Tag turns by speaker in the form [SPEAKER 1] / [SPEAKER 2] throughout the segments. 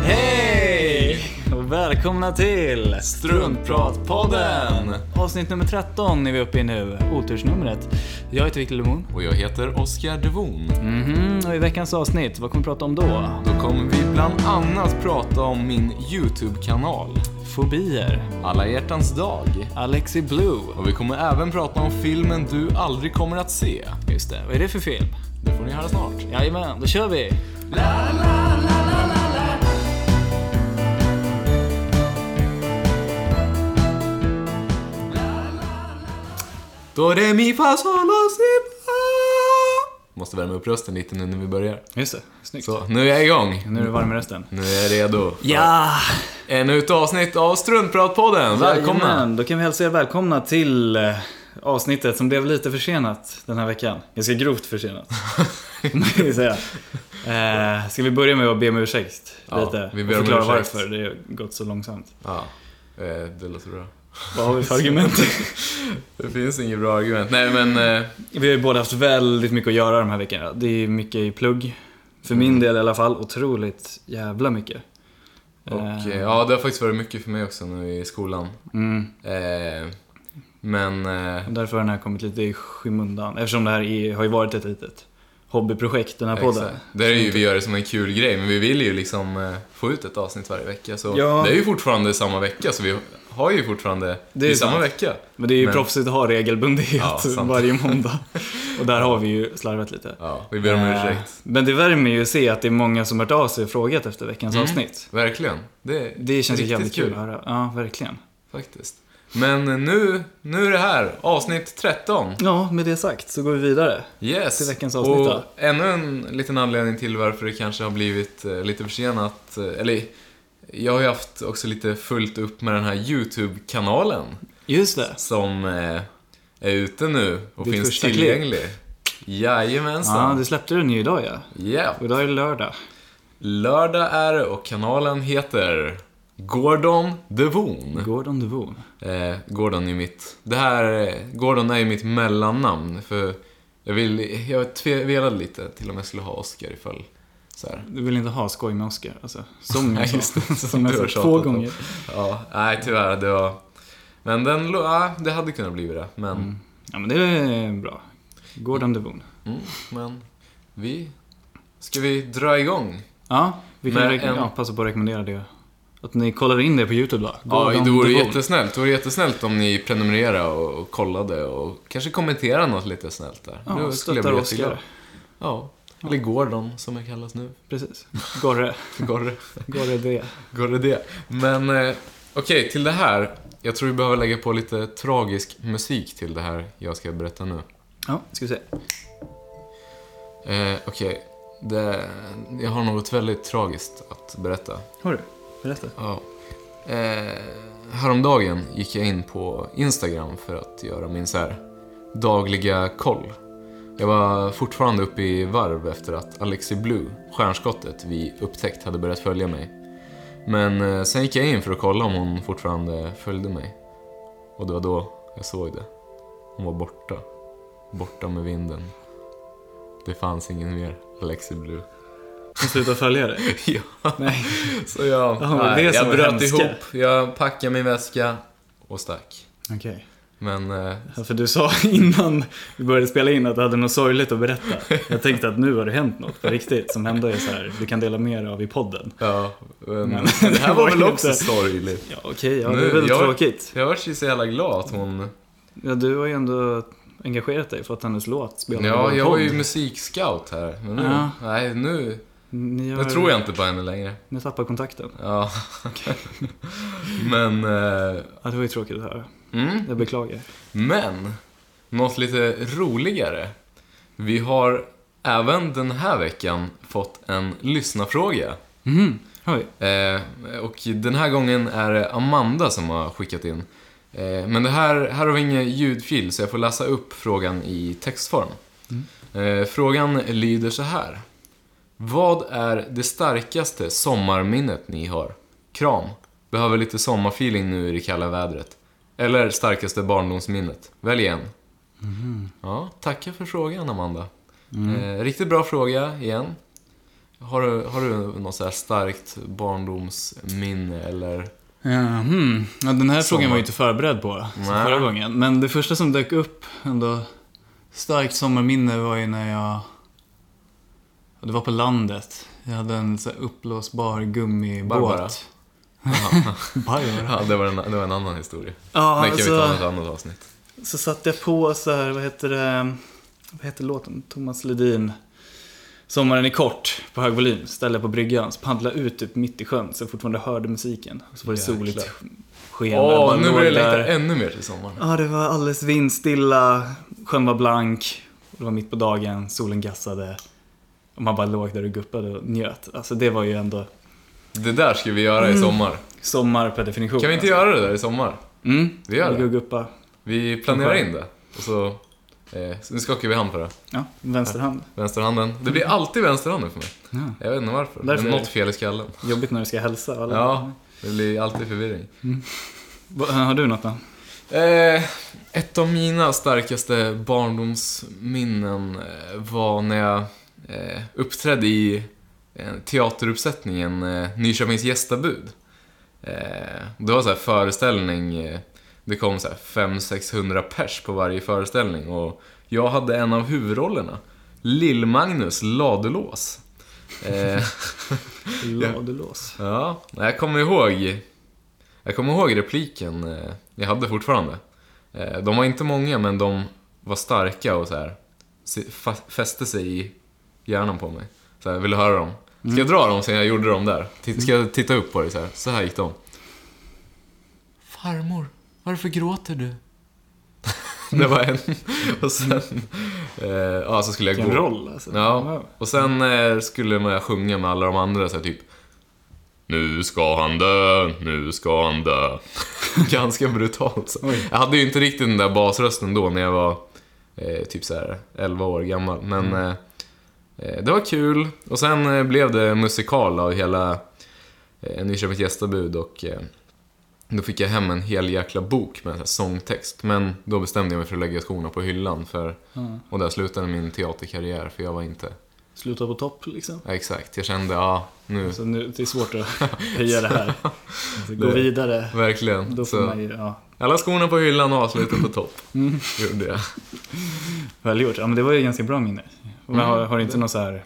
[SPEAKER 1] Hej!
[SPEAKER 2] Och välkomna till
[SPEAKER 1] Struntpratpodden!
[SPEAKER 2] avsnitt nummer 13 är vi uppe i nu, otursnumret. Jag heter Victor Lemon.
[SPEAKER 1] Och jag heter Oskar Devon.
[SPEAKER 2] Mhm, och i veckans avsnitt, vad kommer vi prata om då?
[SPEAKER 1] Då kommer vi bland annat prata om min YouTube-kanal,
[SPEAKER 2] Fobier,
[SPEAKER 1] Alla hjärtans dag.
[SPEAKER 2] Alexi Blue.
[SPEAKER 1] Och vi kommer även prata om filmen du aldrig kommer att se.
[SPEAKER 2] Just det, vad är det för film?
[SPEAKER 1] Det får ni höra snart.
[SPEAKER 2] Jajamän, då kör vi!
[SPEAKER 1] Do re mi fa sol la si fa. Måste värma upp rösten lite nu när vi börjar.
[SPEAKER 2] Just det, snyggt.
[SPEAKER 1] Så, nu är jag igång.
[SPEAKER 2] Nu är du varm i rösten.
[SPEAKER 1] Nu är jag redo. för
[SPEAKER 2] Ja!
[SPEAKER 1] Ännu ett avsnitt av Struntpratpodden. Välkomna!
[SPEAKER 2] Jajamän, då kan vi hälsa er välkomna till eh, avsnittet som blev lite försenat den här veckan. Ganska grovt försenat. får man ju säga. Eh, ska vi börja med att be om ursäkt?
[SPEAKER 1] Ja,
[SPEAKER 2] lite.
[SPEAKER 1] vi
[SPEAKER 2] och
[SPEAKER 1] ber om
[SPEAKER 2] förklara
[SPEAKER 1] ursäkt.
[SPEAKER 2] varför det har gått så långsamt.
[SPEAKER 1] Ja, eh, det låter bra.
[SPEAKER 2] Vad har vi för argument?
[SPEAKER 1] Det finns inget bra argument. Nej men, eh,
[SPEAKER 2] vi har ju båda haft väldigt mycket att göra de här veckorna. Det är ju mycket i plugg. För
[SPEAKER 1] Mm.
[SPEAKER 2] min del i alla fall, otroligt jävla mycket.
[SPEAKER 1] och, eh,
[SPEAKER 2] Eh,
[SPEAKER 1] ja det har faktiskt varit mycket för mig också nu i skolan.
[SPEAKER 2] mm.
[SPEAKER 1] Eh, men, eh,
[SPEAKER 2] Därför har den här kommit lite i skymundan. Eftersom det här är, har ju varit ett litet hobbyprojekt, den här podden.
[SPEAKER 1] exakt. det är ju, vi gör det som en kul grej, men vi vill ju liksom eh, få ut ett avsnitt varje vecka. Så
[SPEAKER 2] Ja.
[SPEAKER 1] det är ju fortfarande samma vecka, så vi har ju fortfarande,
[SPEAKER 2] Det
[SPEAKER 1] det
[SPEAKER 2] är
[SPEAKER 1] är,
[SPEAKER 2] sant.
[SPEAKER 1] samma vecka.
[SPEAKER 2] Men det är ju
[SPEAKER 1] Men-
[SPEAKER 2] proffsigt att ha regelbundenhet
[SPEAKER 1] Ja, sant.
[SPEAKER 2] varje måndag. Och där har vi ju slarvat lite.
[SPEAKER 1] Ja, vi ber om
[SPEAKER 2] Eh,
[SPEAKER 1] ursäkt.
[SPEAKER 2] Men det värmer ju att se att det är många som hört av sig och frågat efter veckans avsnitt.
[SPEAKER 1] Verkligen. Det,
[SPEAKER 2] Det känns ju
[SPEAKER 1] Mm. Riktigt
[SPEAKER 2] jävligt kul
[SPEAKER 1] kul.
[SPEAKER 2] att höra. Ja, verkligen.
[SPEAKER 1] faktiskt. Men eh, nu, nu är det här, avsnitt 13.
[SPEAKER 2] Ja, med det sagt så går vi vidare.
[SPEAKER 1] Yes.
[SPEAKER 2] Till veckans avsnitt
[SPEAKER 1] Och
[SPEAKER 2] då.
[SPEAKER 1] ännu en liten anledning till varför det kanske har blivit eh, lite försenat. eh, Eller, jag har ju haft också lite fullt upp med den här YouTube-kanalen
[SPEAKER 2] Just det.
[SPEAKER 1] som eh, är ute nu och
[SPEAKER 2] Ditt
[SPEAKER 1] finns
[SPEAKER 2] första klipp.
[SPEAKER 1] tillgänglig.
[SPEAKER 2] Ja,
[SPEAKER 1] Jajamensan.
[SPEAKER 2] du släppte den ju idag ja.
[SPEAKER 1] Ja.
[SPEAKER 2] Och idag är det lördag.
[SPEAKER 1] Lördag är det och kanalen heter Gordon Devon.
[SPEAKER 2] Gordon Devon.
[SPEAKER 1] Eh, Gordon är mitt... Det här... eh, Gordon är ju mitt mellannamn för jag vill... Jag tvevelade lite till om jag skulle ha Oscar ifall... Så här.
[SPEAKER 2] Du vill inte ha skoj med Oscar? Alltså, som
[SPEAKER 1] Nej,
[SPEAKER 2] jag
[SPEAKER 1] just
[SPEAKER 2] sa.
[SPEAKER 1] det,
[SPEAKER 2] Som
[SPEAKER 1] du har
[SPEAKER 2] jag sa
[SPEAKER 1] tjatat
[SPEAKER 2] två
[SPEAKER 1] om.
[SPEAKER 2] gånger.
[SPEAKER 1] Ja, nej tyvärr. Det var... Men den... lo- Ja, det hade kunnat bli det. Men...
[SPEAKER 2] Ja, men det är bra. Gordon Devon.
[SPEAKER 1] Mm, men... Vi... Ska vi dra igång?
[SPEAKER 2] Ja, vi kan
[SPEAKER 1] Men
[SPEAKER 2] rek-
[SPEAKER 1] en-
[SPEAKER 2] ja, passa på att rekommendera det. Att ni kollar in det på YouTube då.
[SPEAKER 1] ja, det vore
[SPEAKER 2] Devon.
[SPEAKER 1] jättesnällt. Det vore jättesnällt om ni prenumererade och, och kollade och kanske kommenterade något lite snällt där.
[SPEAKER 2] Ja,
[SPEAKER 1] Då skulle jag
[SPEAKER 2] stöttar
[SPEAKER 1] bli
[SPEAKER 2] Oscar.
[SPEAKER 1] jätteglad. Ja. Eller Gordon, som jag kallas nu.
[SPEAKER 2] Precis. Gorre.
[SPEAKER 1] Gordon.
[SPEAKER 2] Gorre det.
[SPEAKER 1] Går det det? Men eh, okej, till det här. Jag tror vi behöver lägga på lite tragisk musik till det här jag ska berätta nu.
[SPEAKER 2] Ja, ska vi se.
[SPEAKER 1] Eh, okej, det- jag har något väldigt tragiskt att berätta.
[SPEAKER 2] Hörru, berätta.
[SPEAKER 1] Ja. Eh, häromdagen gick jag in på Instagram för att göra min så här dagliga koll. Jag var fortfarande uppe i varv efter att Alexi Blue, stjärnskottet vi upptäckt, hade börjat följa mig. Men eh, sen gick jag in för att kolla om hon fortfarande följde mig. Och det var då jag såg det. Hon var borta. Borta med vinden. Det fanns ingen mer Alexi Blue.
[SPEAKER 2] Hon slutar följa dig.
[SPEAKER 1] ja.
[SPEAKER 2] Nej.
[SPEAKER 1] Så jag,
[SPEAKER 2] Ja, det var det
[SPEAKER 1] nej, jag
[SPEAKER 2] som var
[SPEAKER 1] bröt
[SPEAKER 2] hemska.
[SPEAKER 1] ihop, jag packade min väska och stack.
[SPEAKER 2] Okej.
[SPEAKER 1] Men eh,
[SPEAKER 2] Ja, för du sa innan vi började spela in att du hade något sorgligt att berätta. Jag tänkte att nu har det hänt något på riktigt som ändå är så här, du kan dela mer av i podden.
[SPEAKER 1] ja, men,
[SPEAKER 2] Men-
[SPEAKER 1] det här var väl
[SPEAKER 2] det var
[SPEAKER 1] också
[SPEAKER 2] inte-
[SPEAKER 1] sorgligt.
[SPEAKER 2] Ja, okej. ja, det
[SPEAKER 1] Nu,
[SPEAKER 2] är väl
[SPEAKER 1] jag-
[SPEAKER 2] tråkigt.
[SPEAKER 1] Jag vart ju så jävla glad att hon...
[SPEAKER 2] Ja, du har ju ändå engagerat dig för att hennes låt spelar i
[SPEAKER 1] Ja,
[SPEAKER 2] vår
[SPEAKER 1] jag var
[SPEAKER 2] podd.
[SPEAKER 1] ju musikscout här. Men nu,
[SPEAKER 2] Ja.
[SPEAKER 1] nej, nu,
[SPEAKER 2] Ni
[SPEAKER 1] nu
[SPEAKER 2] har-
[SPEAKER 1] tror jag inte på henne längre.
[SPEAKER 2] Ni tappar kontakten.
[SPEAKER 1] Ja. men, eh,
[SPEAKER 2] Ja, det var ju tråkigt att höra.
[SPEAKER 1] mm,
[SPEAKER 2] Jag beklagar.
[SPEAKER 1] men, något lite roligare. Vi har även den här veckan fått en lyssnarfråga.
[SPEAKER 2] Mhm. Oj.
[SPEAKER 1] Eh, och den här gången är det Amanda som har skickat in. Eh, men det här, här har vi ingen ljudfil så jag får läsa upp frågan i textform. Eh, frågan lyder så här. Vad är det starkaste sommarminnet ni har? Kram. Behöver lite sommarfeeling nu i det kalla vädret. Eller starkaste barndomsminnet. Välj en. Ja, tackar för frågan Amanda. Eh, riktigt bra fråga igen. Har du, har du något så här starkt barndomsminne eller?
[SPEAKER 2] Mhm. Ja, den här
[SPEAKER 1] Sommar.
[SPEAKER 2] frågan var jag inte förberedd på som
[SPEAKER 1] Nej.
[SPEAKER 2] förra gången. Men det första som dök upp ändå starkt sommarminne var ju när jag... ja, Det var på landet. Jag hade en så här uppblåsbar gummibåt.
[SPEAKER 1] Barbara. Jaha.
[SPEAKER 2] Barbara?
[SPEAKER 1] ja, det, var en, det var en annan historia.
[SPEAKER 2] Ja,
[SPEAKER 1] Den kan vi ta i
[SPEAKER 2] alltså,
[SPEAKER 1] ett annat avsnitt.
[SPEAKER 2] så satte jag på så här, vad heter det? Vad heter låten? Thomas Ledin. Sommaren är kort, på hög volym, ställe på bryggan, så paddla ut typ mitt i sjön så jag fortfarande hörde musiken. Och så var det
[SPEAKER 1] Jäklar.
[SPEAKER 2] soligt sken. och jag
[SPEAKER 1] Åh,
[SPEAKER 2] bara
[SPEAKER 1] nu
[SPEAKER 2] låg
[SPEAKER 1] börjar jag
[SPEAKER 2] där.
[SPEAKER 1] längta ännu mer till sommaren.
[SPEAKER 2] Ja, det var alldeles vindstilla. Sjön var blank. Det var mitt på dagen. Solen gassade. Och man bara låg där och guppade och njöt. Alltså det var ju ändå
[SPEAKER 1] Det där ska vi göra i
[SPEAKER 2] Mm.
[SPEAKER 1] sommar.
[SPEAKER 2] sommar per definition.
[SPEAKER 1] Kan vi inte göra det där i sommar?
[SPEAKER 2] Mm.
[SPEAKER 1] Vi gör
[SPEAKER 2] Ligga
[SPEAKER 1] det.
[SPEAKER 2] och guppa.
[SPEAKER 1] Vi planerar
[SPEAKER 2] Mm.
[SPEAKER 1] in det. Och så, eh, så nu skakar vi hand på det.
[SPEAKER 2] Ja, vänsterhand.
[SPEAKER 1] Vänsterhanden. Det blir alltid vänsterhanden för mig.
[SPEAKER 2] Ja.
[SPEAKER 1] Jag vet inte varför.
[SPEAKER 2] Därför
[SPEAKER 1] det
[SPEAKER 2] är
[SPEAKER 1] är
[SPEAKER 2] det.
[SPEAKER 1] något fel i skallen.
[SPEAKER 2] Jobbigt när du ska hälsa. Eller?
[SPEAKER 1] Ja, det blir alltid förvirring.
[SPEAKER 2] Va- Har du något då?
[SPEAKER 1] Eh, ett av mina starkaste barndomsminnen eh, var när jag eh, uppträdde i eh, teateruppsättningen eh, Nyköpings gästabud. Eh, det var så här föreställning, eh, det kom så här 500-600 pers på varje föreställning och jag hade en av huvudrollerna, Lill-Magnus Ladulås. Eh,
[SPEAKER 2] Ladulås.
[SPEAKER 1] Ja, nej, jag kommer ihåg Jag kommer ihåg repliken eh, jag hade fortfarande. Eh, De var inte många, men de var starka och så här se- fa- fäste sig i hjärnan på mig. Så här, jag ville höra dem. Ska jag dra dem sen jag gjorde dem där? Ti- Ska jag titta upp på det så här? Så här gick de. Farmor, varför gråter du? det var en. Och sen... eh, Ja, så skulle jag gå.
[SPEAKER 2] Vilken roll alltså.
[SPEAKER 1] Ja,
[SPEAKER 2] Wow.
[SPEAKER 1] och sen eh, skulle man sjunga med alla de andra så här, typ Nu ska han dö, nu ska han dö. Ganska brutalt. Så.
[SPEAKER 2] Oj.
[SPEAKER 1] Jag hade ju inte riktigt den där basrösten då när jag var eh, typ så här 11 år gammal, men
[SPEAKER 2] Mm.
[SPEAKER 1] eh, eh, det var kul. Och sen eh, blev det musikal av hela eh, Nyköpings gästabud och eh, då fick jag hem en hel jäkla bok med så här sångtext. Men då bestämde jag mig för att lägga skorna på hyllan för,
[SPEAKER 2] Ja.
[SPEAKER 1] och där slutade min teaterkarriär för jag var inte
[SPEAKER 2] Sluta på topp liksom.
[SPEAKER 1] Ja, exakt. Jag kände, ja, nu.
[SPEAKER 2] Så nu, det är svårt att höja det här. Alltså, gå
[SPEAKER 1] Det-
[SPEAKER 2] vidare. Då
[SPEAKER 1] Verkligen.
[SPEAKER 2] får
[SPEAKER 1] Så,
[SPEAKER 2] man Mm. ju, ja.
[SPEAKER 1] alla skorna på hyllan och avslutet på topp. Gjorde jag.
[SPEAKER 2] Väl gjort. Ja, men det var ju ganska bra minne. Men har, har du inte någon så här...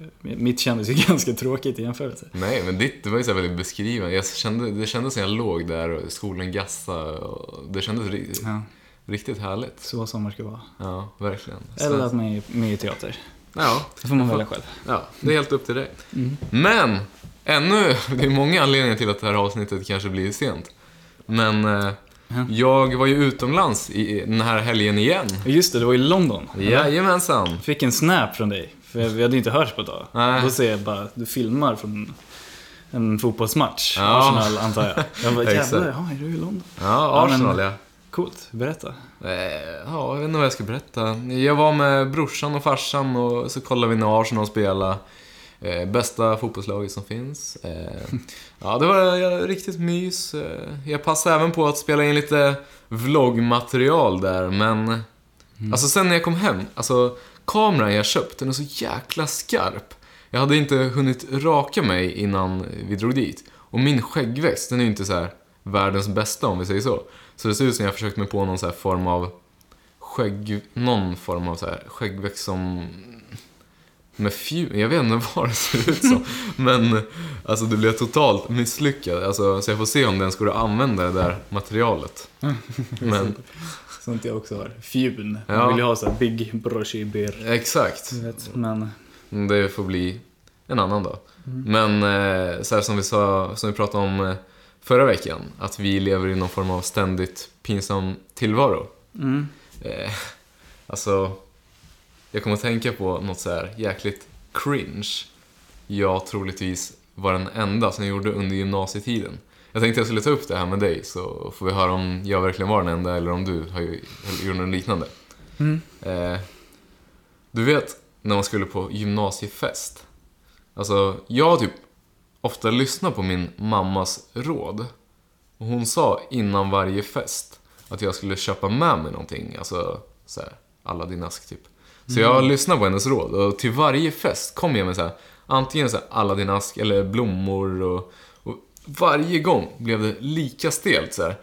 [SPEAKER 2] eh, Mitt kändes ju ganska tråkigt i jämförelse.
[SPEAKER 1] Nej, men ditt, det var ju så här väldigt beskrivande. Jag kände, det kändes när jag låg där och skolan gassade. Och det kändes ri,
[SPEAKER 2] Ja,
[SPEAKER 1] riktigt härligt.
[SPEAKER 2] så sommar ska vara.
[SPEAKER 1] Ja, verkligen. Så-
[SPEAKER 2] Eller att man är med i teater.
[SPEAKER 1] ja,
[SPEAKER 2] Det får man välja själv.
[SPEAKER 1] ja, det är helt upp till dig.
[SPEAKER 2] Mm.
[SPEAKER 1] Men, ännu, det är många anledningar till att det här avsnittet kanske blir sent. Men eh,
[SPEAKER 2] Ja.
[SPEAKER 1] jag var ju utomlands i, den här helgen igen.
[SPEAKER 2] Och Just det, det var i London.
[SPEAKER 1] Jajamensan.
[SPEAKER 2] Jag fick en snap från dig. För vi hade ju inte hörts på ett tag.
[SPEAKER 1] Nej.
[SPEAKER 2] Då ser jag bara att du filmar från en fotbollsmatch.
[SPEAKER 1] Ja.
[SPEAKER 2] Arsenal, antar jag. Jag bara,
[SPEAKER 1] Exakt.
[SPEAKER 2] jävlar, ja, är du i London?
[SPEAKER 1] Ja,
[SPEAKER 2] men-
[SPEAKER 1] Arsenal ja.
[SPEAKER 2] Coolt, berätta.
[SPEAKER 1] Eh, Ja, jag vet inte vad jag ska berätta. Jag var med brorsan och farsan och så kollade vi när Arsenal spelade. Eh, bästa fotbollslaget som finns. Eh, ja, det var ja, riktigt mys. Eh, jag passade även på att spela in lite vloggmaterial där, men... Alltså sen när jag kom hem, alltså kameran jag köpt, den är så jäkla skarp. Jag hade inte hunnit raka mig innan vi drog dit. Och min skäggväxt, den är ju inte så här världens bästa om vi säger så. Så det ser ut som jag har försökt mig på någon så här form av skägg, någon form av så här skäggväxt som med fjun, jag vet inte vad det ser ut som. Men alltså det blev totalt misslyckat. Alltså, så jag får se om den skulle använda det där materialet. Men
[SPEAKER 2] Sånt jag också har. Fjun.
[SPEAKER 1] Ja. Mm.
[SPEAKER 2] Man vill ju ha så här big broshy beer.
[SPEAKER 1] exakt.
[SPEAKER 2] Du vet, Men,
[SPEAKER 1] Det får bli en annan dag. Men eh, så här som vi sa, som vi pratade om eh, förra veckan, att vi lever i någon form av ständigt pinsam tillvaro.
[SPEAKER 2] mm.
[SPEAKER 1] Eh, alltså, jag kommer att tänka på något så här jäkligt cringe. Jag troligtvis var den enda som jag gjorde under gymnasietiden. Jag tänkte jag skulle ta upp det här med dig, så får vi höra om jag verkligen var den enda eller om du har ju- gjorde något liknande.
[SPEAKER 2] Mm.
[SPEAKER 1] Eh, du vet, när man skulle på gymnasiefest. Alltså, jag har typ ofta lyssnat på min mammas råd. Och hon sa innan varje fest att jag skulle köpa med mig någonting. Alltså, så här, Aladdin-ask typ. Så jag lyssnade på hennes råd och till varje fest kom jag med så här, antingen så här Aladdin-ask eller blommor och, och varje gång blev det lika stelt så här.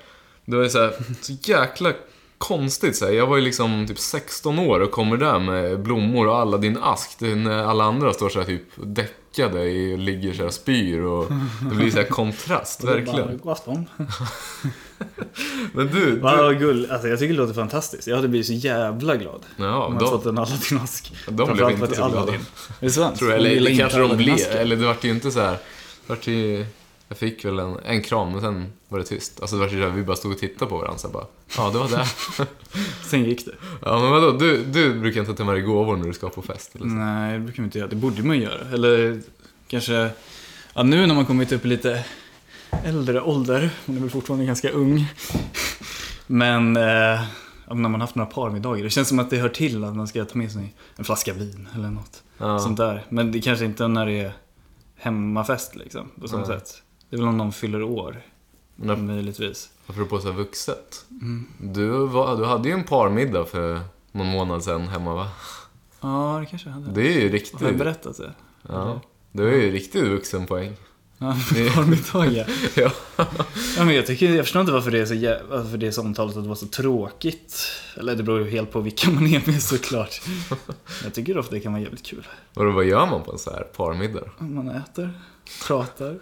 [SPEAKER 1] Det var ju så här, så jäkla konstigt så här. Jag var ju liksom typ 16 år och kommer där med blommor och Aladdin-ask. Det är När alla andra står så här typ däckade i- och ligger så här och spyr och det blir så här kontrast, verkligen.
[SPEAKER 2] Bara, "Godafton."
[SPEAKER 1] Men du, du
[SPEAKER 2] Vad gull. Alltså jag tycker det låter fantastiskt. Jag hade blivit så jävla glad.
[SPEAKER 1] Ja,
[SPEAKER 2] Om jag
[SPEAKER 1] de-
[SPEAKER 2] hade fått en Aladdin-ask.
[SPEAKER 1] blev
[SPEAKER 2] Framförallt
[SPEAKER 1] inte
[SPEAKER 2] för att
[SPEAKER 1] så
[SPEAKER 2] det är
[SPEAKER 1] glada.
[SPEAKER 2] Aladdin. Är det sant?
[SPEAKER 1] Tror jag, eller
[SPEAKER 2] gillar
[SPEAKER 1] det
[SPEAKER 2] inte
[SPEAKER 1] kanske de blev.
[SPEAKER 2] Aladdin-asken.
[SPEAKER 1] Eller det vart ju inte så här. Det vart ju, jag fick väl en, en kram, men sen var det tyst. Alltså det vart ju där vi bara stod och tittade på varandra så här bara. Ja, det var det.
[SPEAKER 2] Sen gick det.
[SPEAKER 1] ja, men vadå? Du, du brukar inte ta med dig gåvor när du ska på fest? Eller? så?
[SPEAKER 2] Nej, det brukar man inte göra. Det borde man göra. Eller kanske, ja nu när man kommit upp i lite äldre ålder, man är väl fortfarande ganska ung. Men eh, ja, när man haft några parmiddagar, det känns som att det hör till att man ska ta med sig en flaska vin eller något.
[SPEAKER 1] Ja.
[SPEAKER 2] Sånt där. Men det kanske inte när det är hemmafest liksom, på samma
[SPEAKER 1] Nej.
[SPEAKER 2] sätt. Det är väl om någon fyller år,
[SPEAKER 1] Men ap-
[SPEAKER 2] möjligtvis.
[SPEAKER 1] apropå så här vuxet. Du, var, du hade ju en parmiddag för någon månad sedan hemma va?
[SPEAKER 2] Ja, det kanske jag hade.
[SPEAKER 1] Det är ju
[SPEAKER 2] Har jag
[SPEAKER 1] riktigt.
[SPEAKER 2] berättat det?
[SPEAKER 1] Ja, det är ju riktigt vuxenpoäng.
[SPEAKER 2] Ja,
[SPEAKER 1] Det-
[SPEAKER 2] parmiddagar.
[SPEAKER 1] Ja.
[SPEAKER 2] Ja, men jag, tycker, jag förstår inte varför det, är så jä- varför det samtalet att det var så tråkigt. Eller det beror ju helt på vilka man är med såklart. Jag tycker ofta det kan vara jävligt kul.
[SPEAKER 1] Vadå, vad gör man på en så här parmiddag då?
[SPEAKER 2] Man äter, pratar,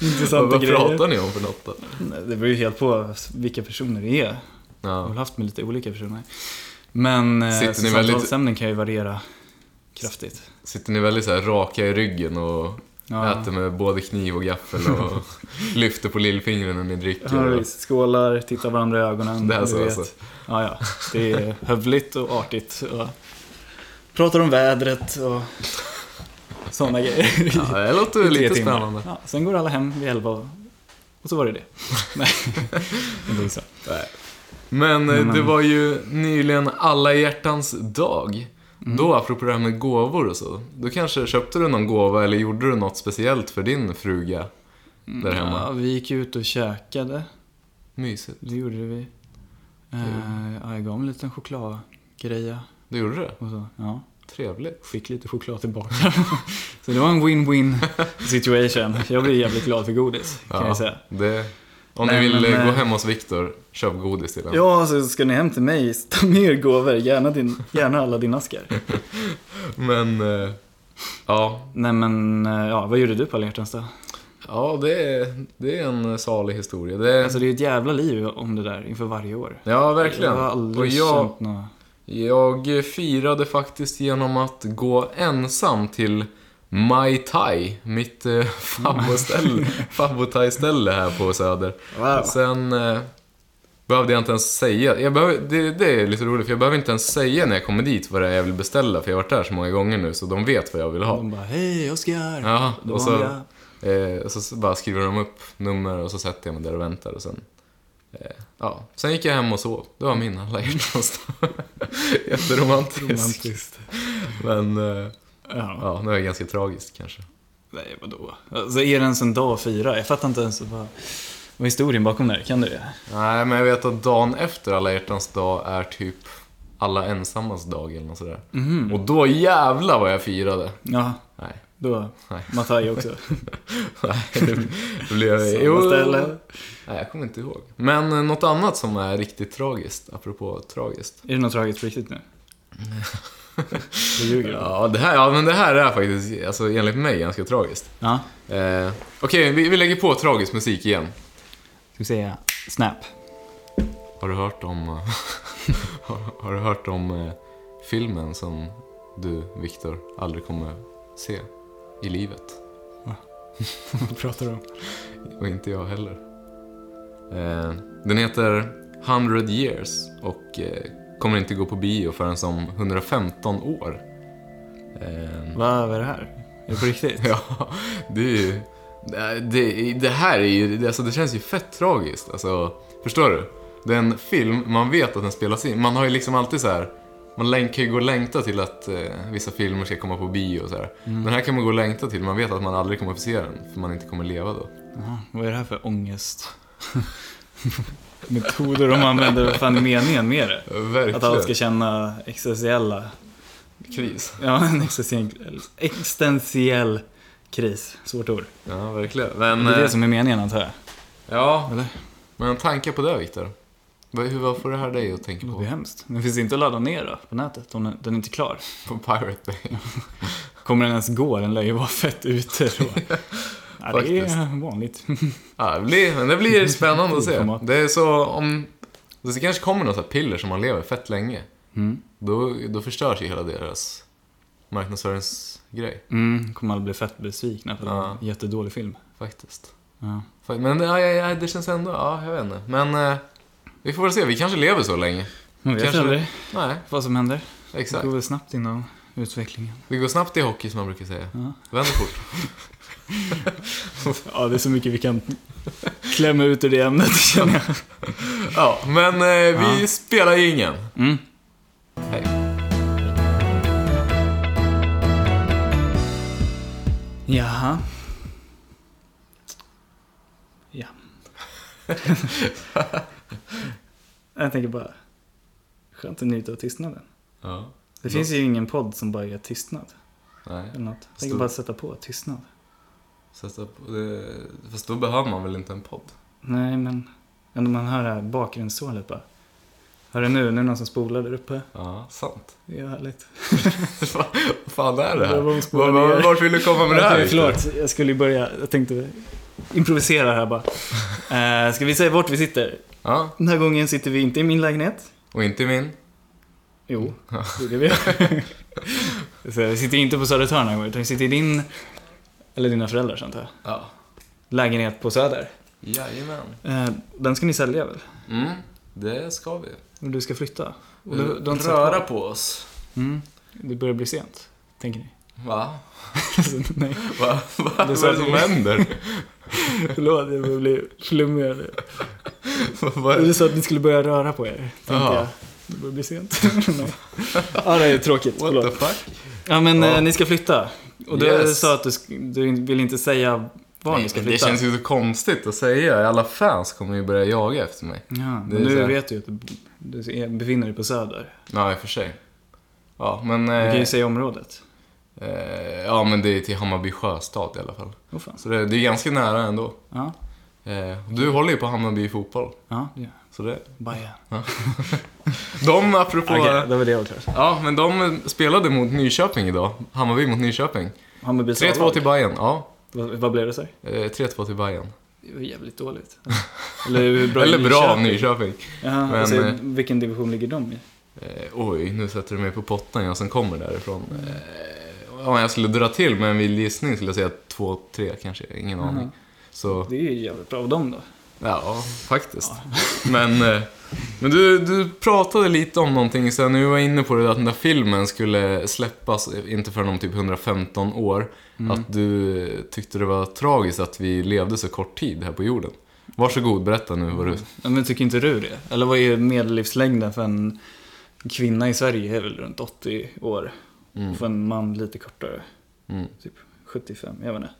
[SPEAKER 1] Vad
[SPEAKER 2] intressanta
[SPEAKER 1] vad
[SPEAKER 2] grejer.
[SPEAKER 1] pratar ni om för något då?
[SPEAKER 2] Nej, Det beror ju helt på vilka personer det är. Jag har
[SPEAKER 1] Ja.
[SPEAKER 2] väl haft med lite olika personer. Men eh,
[SPEAKER 1] Sitter ni väldigt-
[SPEAKER 2] samtalsämnen kan ju variera kraftigt.
[SPEAKER 1] Sitter ni väldigt så här raka i ryggen och
[SPEAKER 2] Ja.
[SPEAKER 1] Äter med både kniv och gaffel och lyfter på lillfingret när ni dricker.
[SPEAKER 2] Ja,
[SPEAKER 1] och-
[SPEAKER 2] visst. Skålar, tittar varandra i ögonen.
[SPEAKER 1] Det är
[SPEAKER 2] du
[SPEAKER 1] så,
[SPEAKER 2] vet.
[SPEAKER 1] alltså.
[SPEAKER 2] Ja, ja. Det är hövligt och artigt. Och pratar om vädret och sådana grejer.
[SPEAKER 1] Ja, det låter
[SPEAKER 2] Tre
[SPEAKER 1] lite
[SPEAKER 2] timmar.
[SPEAKER 1] spännande.
[SPEAKER 2] Ja, sen går alla hem vid elva och, och så var det det. Nej, det är så.
[SPEAKER 1] Men eh,
[SPEAKER 2] Men,
[SPEAKER 1] det
[SPEAKER 2] men-
[SPEAKER 1] var ju nyligen alla hjärtans dag.
[SPEAKER 2] Mm.
[SPEAKER 1] Då, apropå det här med gåvor och så. Då kanske köpte du någon gåva eller gjorde du något speciellt för din fruga där hemma?
[SPEAKER 2] Ja, vi gick ut och käkade.
[SPEAKER 1] Mysigt.
[SPEAKER 2] Det gjorde vi. Eh, ja, jag gav mig en liten chokladgreja
[SPEAKER 1] Du gjorde det?
[SPEAKER 2] och så. Ja.
[SPEAKER 1] Trevligt.
[SPEAKER 2] Fick lite choklad tillbaka. så det var en win-win situation. Jag blev jävligt glad för godis, kan jag säga.
[SPEAKER 1] Det... Om
[SPEAKER 2] Nej,
[SPEAKER 1] ni vill
[SPEAKER 2] men,
[SPEAKER 1] eh, gå
[SPEAKER 2] eh,
[SPEAKER 1] hem hos Viktor, köp godis till honom.
[SPEAKER 2] Ja, så ska ni hem till mig, ta med er gåvor. Gärna, din, gärna alla dina askar.
[SPEAKER 1] Men, eh, ja,
[SPEAKER 2] Nej men, eh, ja, vad gjorde du på alla hjärtans dag?
[SPEAKER 1] Ja, det är, det är en salig historia. Det är,
[SPEAKER 2] Alltså det är ju ett jävla liv om det där inför varje år.
[SPEAKER 1] ja, verkligen.
[SPEAKER 2] Jag har
[SPEAKER 1] och
[SPEAKER 2] aldrig
[SPEAKER 1] jag,
[SPEAKER 2] känt något...
[SPEAKER 1] jag firade faktiskt genom att gå ensam till Mai Tai, mitt eh, fabboställe- fabbotai-ställe här på Söder.
[SPEAKER 2] Wow.
[SPEAKER 1] Sen eh, behövde jag inte ens säga, jag behöver, det, det är lite roligt, för jag behöver inte ens säga när jag kommer dit vad det är jag vill beställa, för jag har varit där så många gånger nu, så de vet vad jag vill ha.
[SPEAKER 2] De bara, hej Oskar!
[SPEAKER 1] Ja,
[SPEAKER 2] Det
[SPEAKER 1] och
[SPEAKER 2] var
[SPEAKER 1] så-
[SPEAKER 2] jag.
[SPEAKER 1] Eh, och så s- bara skriver de upp nummer och så sätter jag mig där och väntar och sen... Eh, ja. Sen gick jag hem och sov. Det var min alla hjärtans dag. Jätteromantisk.
[SPEAKER 2] Romantiskt.
[SPEAKER 1] Men, eh,
[SPEAKER 2] Ja.
[SPEAKER 1] ja, det var ganska tragiskt kanske.
[SPEAKER 2] Nej, vadå? Alltså är det ens en dag att fira? Jag fattar inte ens vad, vad historien bakom det här Kan du det?
[SPEAKER 1] Nej, men jag vet att dagen efter alla hjärtans dag är typ alla ensammas dag eller något sådär. Och då jävla vad jag firade.
[SPEAKER 2] Ja,
[SPEAKER 1] Nej,
[SPEAKER 2] då...
[SPEAKER 1] Nej.
[SPEAKER 2] Matai också.
[SPEAKER 1] nej, det det blev...
[SPEAKER 2] Samma ställe.
[SPEAKER 1] Nej, jag kommer inte ihåg. Men eh, något annat som är riktigt tragiskt, apropå tragiskt.
[SPEAKER 2] Är det något tragiskt på riktigt nu? Du ljuger. Ja.
[SPEAKER 1] Ja, det här, ja, men det här är faktiskt, alltså, enligt mig, ganska tragiskt.
[SPEAKER 2] ja.
[SPEAKER 1] Eh, Okej, vi, vi lägger på tragisk musik igen.
[SPEAKER 2] Ska vi säga Snap?
[SPEAKER 1] Har du hört om, har, har du hört om eh, filmen som du, Viktor, aldrig kommer se i livet?
[SPEAKER 2] Vad pratar du om?
[SPEAKER 1] Och inte jag heller. Eh, den heter 100 years och eh, kommer inte gå på bio förrän om 115 år. Eh,
[SPEAKER 2] Va, vad är det här? Är det på riktigt?
[SPEAKER 1] Ja, det är ju... det- Det, det här är ju... det- Alltså, det känns ju fett tragiskt. Alltså, förstår du? Det är en film, man vet att den spelas in. Man har ju liksom alltid så här Man län- kan ju gå och längta till att eh, vissa filmer ska komma på bio och sådär.
[SPEAKER 2] Mm.
[SPEAKER 1] Den här kan man gå och längta till, man vet att man aldrig kommer få se den, för man inte kommer leva då.
[SPEAKER 2] Jaha, vad är det här för ångest? Metoder de använder, vad fan är meningen med det?
[SPEAKER 1] Verkligen.
[SPEAKER 2] Att alla ska känna existentiella...
[SPEAKER 1] Kris.
[SPEAKER 2] Ja, en existentiell, existentiell kris. Svårt ord.
[SPEAKER 1] Ja, verkligen. Men,
[SPEAKER 2] Det är
[SPEAKER 1] eh,
[SPEAKER 2] det som är meningen antar jag.
[SPEAKER 1] ja,
[SPEAKER 2] Eller?
[SPEAKER 1] men tankar på det Viktor. Vad, hur- vad får det här dig att tänka
[SPEAKER 2] Det låter ju
[SPEAKER 1] på?
[SPEAKER 2] hemskt. Den finns inte att ladda ner då, på nätet. om Den, den är inte klar.
[SPEAKER 1] På Pirate Bay.
[SPEAKER 2] Kommer den ens gå? Den lär ju vara fett ute då. ja, det är vanligt.
[SPEAKER 1] Mm. Ja, det, blir, men det blir spännande att se.
[SPEAKER 2] Format.
[SPEAKER 1] Det är så om... Det kanske kommer något så här piller som man lever fett länge.
[SPEAKER 2] Mm.
[SPEAKER 1] Då, då förstörs ju hela deras marknadsföringsgrej,
[SPEAKER 2] Mm, kommer alla bli fett besvikna för
[SPEAKER 1] Ja.
[SPEAKER 2] en jättedålig film.
[SPEAKER 1] faktiskt.
[SPEAKER 2] Ja.
[SPEAKER 1] Fa- Men ja, ja, ja, det känns ändå... Ja, jag vet inte. Men eh, vi får väl se. Vi kanske lever så länge.
[SPEAKER 2] Man vet
[SPEAKER 1] Kanske-
[SPEAKER 2] aldrig
[SPEAKER 1] Nej,
[SPEAKER 2] vad som händer. Det
[SPEAKER 1] exakt.
[SPEAKER 2] går väl snabbt inom utvecklingen.
[SPEAKER 1] Det går snabbt i hockey som man brukar säga.
[SPEAKER 2] Ja.
[SPEAKER 1] Vänder fort.
[SPEAKER 2] Ja, det är så mycket vi kan klämma ut ur det ämnet känner jag.
[SPEAKER 1] Ja, men eh, vi spelar ju ingen.
[SPEAKER 2] Mm.
[SPEAKER 1] Hej.
[SPEAKER 2] Jaha. Ja. jag tänker bara, skönt att njuta av tystnaden.
[SPEAKER 1] Ja.
[SPEAKER 2] Det finns ju ingen podd som bara är tystnad.
[SPEAKER 1] Nej,
[SPEAKER 2] Eller något. Jag tänker
[SPEAKER 1] Stor-
[SPEAKER 2] bara sätta på tystnad.
[SPEAKER 1] sätta på det. Fast då behöver man väl inte en podd?
[SPEAKER 2] Nej, men ändå man hör det här bakgrundssorlet bara. Hör du nu? Nu är det någon som spolar där uppe.
[SPEAKER 1] Ja, sant.
[SPEAKER 2] Det är härligt.
[SPEAKER 1] Vad fan är det
[SPEAKER 2] Det
[SPEAKER 1] här?
[SPEAKER 2] var vad som var
[SPEAKER 1] Var- var-
[SPEAKER 2] ner.
[SPEAKER 1] Vart vill du komma med det här?
[SPEAKER 2] Okej,
[SPEAKER 1] Viktor?
[SPEAKER 2] förlåt, jag skulle ju börja. Jag tänkte improvisera här bara. Eh, ska vi säga vart vi sitter?
[SPEAKER 1] Ja,
[SPEAKER 2] Den här gången sitter vi inte i min lägenhet.
[SPEAKER 1] och inte min.
[SPEAKER 2] Jo, det är det vi gör. Så vi sitter inte på Södertörn den här gången, utan vi sitter i din, eller dina föräldrars antar jag,
[SPEAKER 1] Ja.
[SPEAKER 2] lägenhet på Söder.
[SPEAKER 1] Jajamän.
[SPEAKER 2] Eh, den ska ni sälja väl?
[SPEAKER 1] Mm, det ska vi.
[SPEAKER 2] Och du ska flytta? Och du, du har inte
[SPEAKER 1] Röra
[SPEAKER 2] sagt
[SPEAKER 1] på oss.
[SPEAKER 2] vad. Mm. Det börjar bli sent, tänker ni.
[SPEAKER 1] Va?
[SPEAKER 2] Alltså, nej,
[SPEAKER 1] Va? Va? Vad
[SPEAKER 2] Det
[SPEAKER 1] är
[SPEAKER 2] sa
[SPEAKER 1] det som
[SPEAKER 2] vi.
[SPEAKER 1] händer?
[SPEAKER 2] förlåt, jag börjar bli flummigare nu.
[SPEAKER 1] Vad är
[SPEAKER 2] Du
[SPEAKER 1] det?
[SPEAKER 2] sa att ni skulle börja röra på er, tänkte
[SPEAKER 1] Jaha.
[SPEAKER 2] jag. Det börjar bli sent. Nej. ja, det är tråkigt.
[SPEAKER 1] What the
[SPEAKER 2] Förlåt.
[SPEAKER 1] fuck?
[SPEAKER 2] Ja, men
[SPEAKER 1] Ja.
[SPEAKER 2] eh, ni ska flytta. Och du
[SPEAKER 1] Yes.
[SPEAKER 2] sa att du, sk- du vill inte säga var ni
[SPEAKER 1] Nej,
[SPEAKER 2] ska
[SPEAKER 1] men det
[SPEAKER 2] flytta.
[SPEAKER 1] känns ju så konstigt att säga. Alla fans kommer ju börja jaga efter mig.
[SPEAKER 2] Ja, men
[SPEAKER 1] Det är så
[SPEAKER 2] nu
[SPEAKER 1] här-
[SPEAKER 2] vet du ju att du- du är- befinner dig på Söder.
[SPEAKER 1] Ja, i och för sig. Ja, men...
[SPEAKER 2] Du kan
[SPEAKER 1] eh,
[SPEAKER 2] ju säga området.
[SPEAKER 1] eh, ja, men det är till Hammarby sjöstad i alla fall.
[SPEAKER 2] Åh fan.
[SPEAKER 1] Så det, det är ganska nära ändå.
[SPEAKER 2] Ja,
[SPEAKER 1] Eh, och du håller ju på Hammarby fotboll.
[SPEAKER 2] ja, det gör
[SPEAKER 1] Så det...
[SPEAKER 2] Bajen.
[SPEAKER 1] De, apropå...
[SPEAKER 2] Okej, det var det jag var klar.
[SPEAKER 1] Ja, men de spelade mot Nyköping idag. Hammarby mot Nyköping.
[SPEAKER 2] Hammarbys
[SPEAKER 1] 3-2
[SPEAKER 2] A-lag.
[SPEAKER 1] till Bayern. ja.
[SPEAKER 2] Vad, vad blev det så?
[SPEAKER 1] Eh, 3-2 till Bayern.
[SPEAKER 2] Det var jävligt dåligt. Eller hur bra
[SPEAKER 1] Eller bra av
[SPEAKER 2] Nyköping.
[SPEAKER 1] Nyköping.
[SPEAKER 2] Jaha,
[SPEAKER 1] Men,
[SPEAKER 2] alltså,
[SPEAKER 1] eh,
[SPEAKER 2] vilken division ligger de i?
[SPEAKER 1] Eh, oj, nu sätter du mig på pottan, jag som kommer därifrån. Eh, om jag skulle dra till med en vild gissning skulle jag säga 2-3 kanske, ingen
[SPEAKER 2] Mm-hmm.
[SPEAKER 1] aning. Så,
[SPEAKER 2] Det är ju jävligt bra av dem då.
[SPEAKER 1] ja, faktiskt. Men, eh, men du, du pratade lite om någonting sen, nu var jag inne på det, att den där filmen skulle släppas, eh, inte förrän om typ 115 år.
[SPEAKER 2] Mm.
[SPEAKER 1] Att du eh, tyckte det var tragiskt att vi levde så kort tid här på jorden. Varsågod, berätta nu vad du...
[SPEAKER 2] Ja, Men tycker inte du det? Eller vad är medellivslängden för en kvinna i Sverige? är väl runt 80 år.
[SPEAKER 1] Mm.
[SPEAKER 2] För en man lite kortare.
[SPEAKER 1] Mm.
[SPEAKER 2] Typ 75, jag vet inte.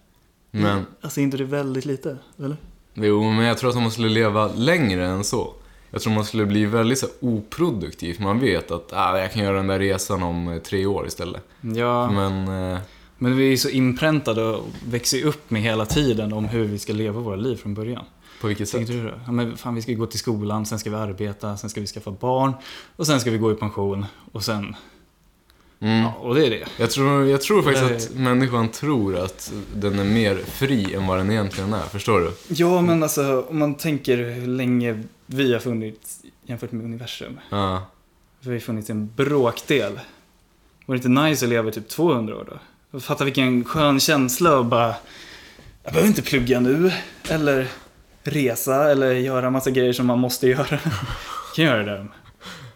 [SPEAKER 1] Men,
[SPEAKER 2] Alltså är inte det väldigt lite? Eller?
[SPEAKER 1] Jo, men jag tror att man skulle leva längre än så. Jag tror man skulle bli väldigt så här, oproduktiv. Man vet att ah, jag kan göra den där resan om eh, tre år istället.
[SPEAKER 2] Ja.
[SPEAKER 1] Men eh,
[SPEAKER 2] Men vi är ju så inpräntade och växer ju upp med hela tiden om hur vi ska leva våra liv från början.
[SPEAKER 1] på vilket sätt?
[SPEAKER 2] Tänker du det? Ja, men fan, vi ska ju gå till skolan, sen ska vi arbeta, sen ska vi skaffa barn och sen ska vi gå i pension och sen...
[SPEAKER 1] Mm.
[SPEAKER 2] Ja, och det är det.
[SPEAKER 1] Jag, tror, jag tror faktiskt
[SPEAKER 2] Nej.
[SPEAKER 1] att människan tror att den är mer fri än vad den egentligen är. Förstår du?
[SPEAKER 2] Ja, men alltså om man tänker hur länge vi har funnits jämfört med universum.
[SPEAKER 1] Ja.
[SPEAKER 2] Vi har ju funnits en bråkdel. Vore det inte nice att leva i typ 200 år då? Fatta vilken skön känsla att bara... Jag behöver inte plugga nu. Eller resa eller göra massa grejer som man måste göra. Jag kan göra det där om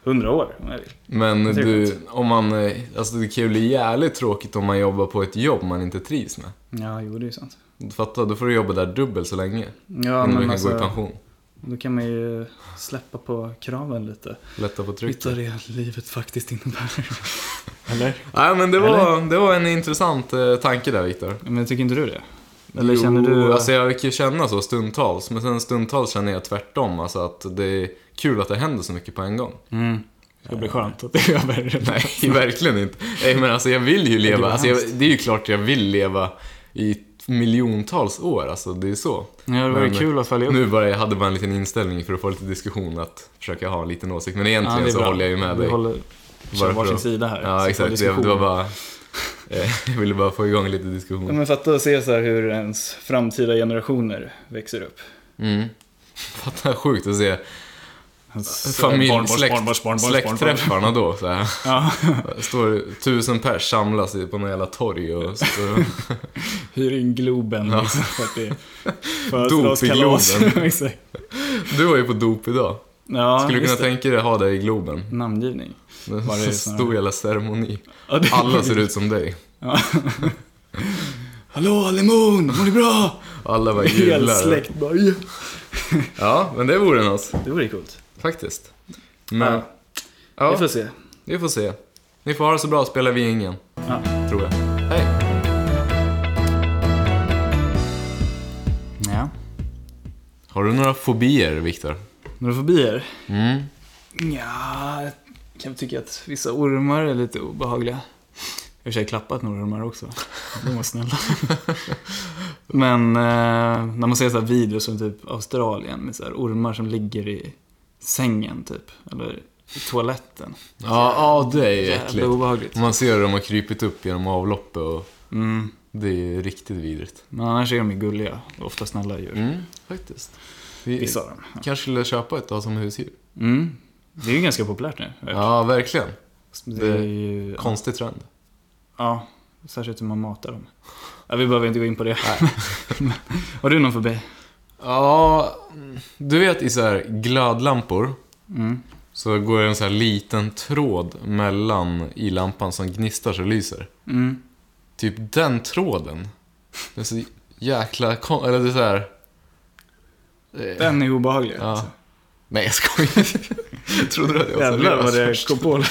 [SPEAKER 2] 100 år om jag vill.
[SPEAKER 1] Men
[SPEAKER 2] Det är
[SPEAKER 1] du, om man, eh, alltså det kan ju bli jävligt tråkigt om man jobbar på ett jobb man inte trivs med.
[SPEAKER 2] Ja, jo det är ju sant.
[SPEAKER 1] Fatta, då får du jobba där dubbelt så länge.
[SPEAKER 2] Ja,
[SPEAKER 1] innan du
[SPEAKER 2] men
[SPEAKER 1] kan gå i
[SPEAKER 2] alltså...
[SPEAKER 1] pension.
[SPEAKER 2] Då kan man ju släppa på kraven lite.
[SPEAKER 1] Lätta på
[SPEAKER 2] Hitta
[SPEAKER 1] trycket.
[SPEAKER 2] det livet faktiskt innebär. Eller?
[SPEAKER 1] Nej, men det var, det var en intressant eh, tanke där, Viktor.
[SPEAKER 2] Men tycker inte du det? Eller
[SPEAKER 1] jo,
[SPEAKER 2] känner du...
[SPEAKER 1] alltså jag kan ju känna så stundtals, men sen stundtals känner jag tvärtom. Alltså att det är kul att det händer så mycket på en gång.
[SPEAKER 2] Mm. Det ska bli skönt att det är över.
[SPEAKER 1] Nej, verkligen inte. Nej, men alltså jag vill ju
[SPEAKER 2] Det
[SPEAKER 1] leva.
[SPEAKER 2] var
[SPEAKER 1] Alltså jag,
[SPEAKER 2] hemskt.
[SPEAKER 1] det är ju klart jag vill leva i miljontals år, alltså det är så.
[SPEAKER 2] Ja, det var ju
[SPEAKER 1] Men-
[SPEAKER 2] kul att följa upp.
[SPEAKER 1] Nu bara, jag hade bara en liten inställning för att få lite diskussion, att försöka ha en liten åsikt. Men
[SPEAKER 2] Ja,
[SPEAKER 1] egentligen
[SPEAKER 2] det är
[SPEAKER 1] så
[SPEAKER 2] bra.
[SPEAKER 1] håller jag ju med
[SPEAKER 2] Vi
[SPEAKER 1] dig.
[SPEAKER 2] håller kör
[SPEAKER 1] Bara för
[SPEAKER 2] varsin
[SPEAKER 1] att-
[SPEAKER 2] sida här. så
[SPEAKER 1] Ja,
[SPEAKER 2] får
[SPEAKER 1] exakt. Det,
[SPEAKER 2] diskussion.
[SPEAKER 1] det var bara... eh, Jag ville bara få igång lite
[SPEAKER 2] Ja,
[SPEAKER 1] diskussion.
[SPEAKER 2] men fatta att se så här hur ens framtida generationer växer upp.
[SPEAKER 1] Mm. Fattar sjukt att se
[SPEAKER 2] Hans
[SPEAKER 1] familj,
[SPEAKER 2] Alltså, barnbarns,
[SPEAKER 1] släkt,
[SPEAKER 2] barnbarns, barnbarns, barnbarns.
[SPEAKER 1] släktträffarna då. Så här.
[SPEAKER 2] Ja,
[SPEAKER 1] Står tusen pers samlas i- på någon jävla torg och står
[SPEAKER 2] hyr in Globen
[SPEAKER 1] Ja.
[SPEAKER 2] liksom för att det är
[SPEAKER 1] Dop i
[SPEAKER 2] födelsedagskalas.
[SPEAKER 1] Globen.
[SPEAKER 2] Exakt.
[SPEAKER 1] Du var ju på dop idag.
[SPEAKER 2] ja,
[SPEAKER 1] Skulle du
[SPEAKER 2] just
[SPEAKER 1] kunna tänka dig att ha dig i Globen?
[SPEAKER 2] det. Namngivning. Var det
[SPEAKER 1] En
[SPEAKER 2] sån här-
[SPEAKER 1] stor jävla ceremoni.
[SPEAKER 2] Ja, det-
[SPEAKER 1] Alla ser ut som dig.
[SPEAKER 2] Ja. Hallå Lemon, mår ni bra?
[SPEAKER 1] Alla bara
[SPEAKER 2] Hel
[SPEAKER 1] jublar.
[SPEAKER 2] släkt bara "Ja."
[SPEAKER 1] Ja, men det vore något.
[SPEAKER 2] Det vore coolt.
[SPEAKER 1] Faktiskt. Men,
[SPEAKER 2] Men, ja, vi
[SPEAKER 1] ja,
[SPEAKER 2] får se.
[SPEAKER 1] vi får se. Ni får ha det så bra, spelar vi ingen.
[SPEAKER 2] Ja.
[SPEAKER 1] Tror jag. Hej.
[SPEAKER 2] Ja.
[SPEAKER 1] Har du några fobier, Viktor?
[SPEAKER 2] Några fobier?
[SPEAKER 1] Mm.
[SPEAKER 2] Ja, jag kan tycka att vissa ormar är lite obehagliga. Jag har i och för sig klappat några ormar också. De var snälla. Men eh, när man ser så här videos som typ Australien med så här ormar som ligger i sängen typ. Eller i toaletten.
[SPEAKER 1] Ja, ja, det är ju
[SPEAKER 2] Jävla
[SPEAKER 1] äckligt.
[SPEAKER 2] obehagligt.
[SPEAKER 1] Man ser hur de har krypit upp genom avloppet och
[SPEAKER 2] Mm.
[SPEAKER 1] det är ju riktigt vidrigt.
[SPEAKER 2] Men annars är de ju gulliga. Ofta snälla djur.
[SPEAKER 1] Mm, faktiskt. Vi
[SPEAKER 2] Vissa av dem. ja.
[SPEAKER 1] kanske skulle köpa ett av som husdjur.
[SPEAKER 2] Mm. Det är ju ganska populärt nu.
[SPEAKER 1] Ja, verkligen.
[SPEAKER 2] Det är ju...
[SPEAKER 1] Konstig trend.
[SPEAKER 2] Ja, särskilt hur man matar dem. Ja, vi behöver inte gå in på det. Har du någon fobi?
[SPEAKER 1] Ja, mm, du vet i så här glödlampor
[SPEAKER 2] Mm.
[SPEAKER 1] så går det en så här liten tråd mellan i lampan som gnistrar så det lyser.
[SPEAKER 2] Mm.
[SPEAKER 1] Typ den tråden. Det är så jäkla kon- Eller det är så här... Eh,
[SPEAKER 2] Den är obehaglig.
[SPEAKER 1] Ja.
[SPEAKER 2] alltså.
[SPEAKER 1] Nej, jag skojar. Trodde du att jag var
[SPEAKER 2] Jävlar vad
[SPEAKER 1] seriös?
[SPEAKER 2] det kom på.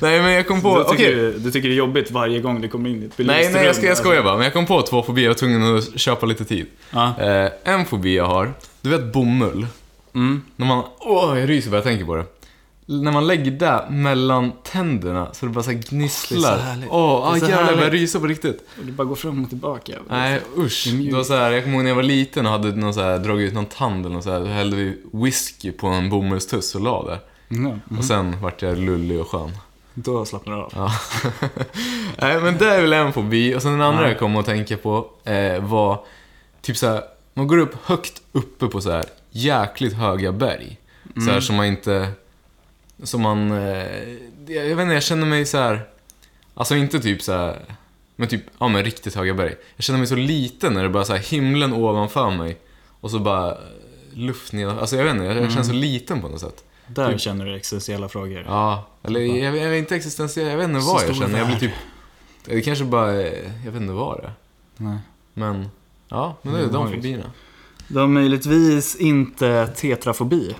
[SPEAKER 1] Nej, men jag kom på...
[SPEAKER 2] Du
[SPEAKER 1] Okej.
[SPEAKER 2] tycker, du tycker det är jobbigt varje gång det kommer in i ett alltså. belyst
[SPEAKER 1] Nej, nej, jag, ska, jag
[SPEAKER 2] rum.
[SPEAKER 1] skojar bara. Men jag kom på två fobier. Jag var tvungen att köpa lite tid.
[SPEAKER 2] Ja.
[SPEAKER 1] Eh, en fobi jag har. Du vet bomull?
[SPEAKER 2] Mm.
[SPEAKER 1] När man... Åh, jag ryser bara jag tänker på det. L- När man lägger det mellan tänderna så det bara så här
[SPEAKER 2] Åh, det
[SPEAKER 1] gnisslar.
[SPEAKER 2] är så härligt.
[SPEAKER 1] Åh,
[SPEAKER 2] Det är
[SPEAKER 1] ah,
[SPEAKER 2] så
[SPEAKER 1] jävlar, jag börjar
[SPEAKER 2] härligt.
[SPEAKER 1] rysa på riktigt.
[SPEAKER 2] Och det bara går fram och tillbaka.
[SPEAKER 1] Nej, usch.
[SPEAKER 2] Det är mjukt.
[SPEAKER 1] Det var så här, jag kommer ihåg när jag var liten och hade någon så här, dragit ut någon tand eller något så här. Då hällde vi whisky på en bomullstuss och la det.
[SPEAKER 2] Mm.
[SPEAKER 1] Och sen vart jag lullig och skön.
[SPEAKER 2] Då slappnar du av.
[SPEAKER 1] Ja. Nej, men det är väl en fobi. Och sen den andra
[SPEAKER 2] Ja.
[SPEAKER 1] jag kom att tänka på eh, var typ så här, man går upp högt uppe på så här jäkligt höga berg. Så här som man inte, som man, eh, jag, jag vet inte, jag känner mig så här, alltså inte typ så här, men typ, ja men riktigt höga berg. Jag känner mig så liten när det bara så här himlen ovanför mig och så bara eh, luft nedanför. Alltså jag vet inte, jag, jag känner så liten på något sätt.
[SPEAKER 2] Där känner du existentiella frågor.
[SPEAKER 1] Mm. Ja, eller jag, jag är inte existentiell, jag vet inte
[SPEAKER 2] Så
[SPEAKER 1] vad jag
[SPEAKER 2] stor
[SPEAKER 1] känner. Jag blir
[SPEAKER 2] värld.
[SPEAKER 1] typ... Det kanske bara är- Jag vet inte vad det är.
[SPEAKER 2] Nej.
[SPEAKER 1] Men, ja, men det är
[SPEAKER 2] Mm,
[SPEAKER 1] de
[SPEAKER 2] magiskt.
[SPEAKER 1] fobierna.
[SPEAKER 2] Du har möjligtvis inte tetrafobi.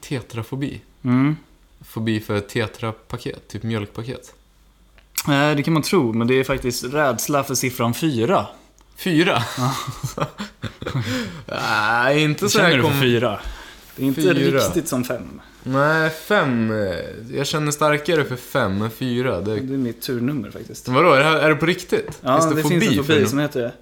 [SPEAKER 1] Tetrafobi.
[SPEAKER 2] Mm.
[SPEAKER 1] Fobi för tetrapaket, typ mjölkpaket.
[SPEAKER 2] Eh, Det kan man tro, men det är faktiskt rädsla för siffran fyra.
[SPEAKER 1] Fyra? Nej, inte
[SPEAKER 2] Vad
[SPEAKER 1] så här
[SPEAKER 2] känner du för
[SPEAKER 1] kom...
[SPEAKER 2] fyra? Det är inte
[SPEAKER 1] Fyra.
[SPEAKER 2] riktigt som fem.
[SPEAKER 1] Nej, fem. eh, Jag känner starkare för fem än fyra.
[SPEAKER 2] Det
[SPEAKER 1] Det...
[SPEAKER 2] är mitt turnummer faktiskt.
[SPEAKER 1] Vadå, är det, här, är det på riktigt?
[SPEAKER 2] Ja,
[SPEAKER 1] Finns
[SPEAKER 2] det,
[SPEAKER 1] det, fobi
[SPEAKER 2] finns en
[SPEAKER 1] för
[SPEAKER 2] fobi som heter det.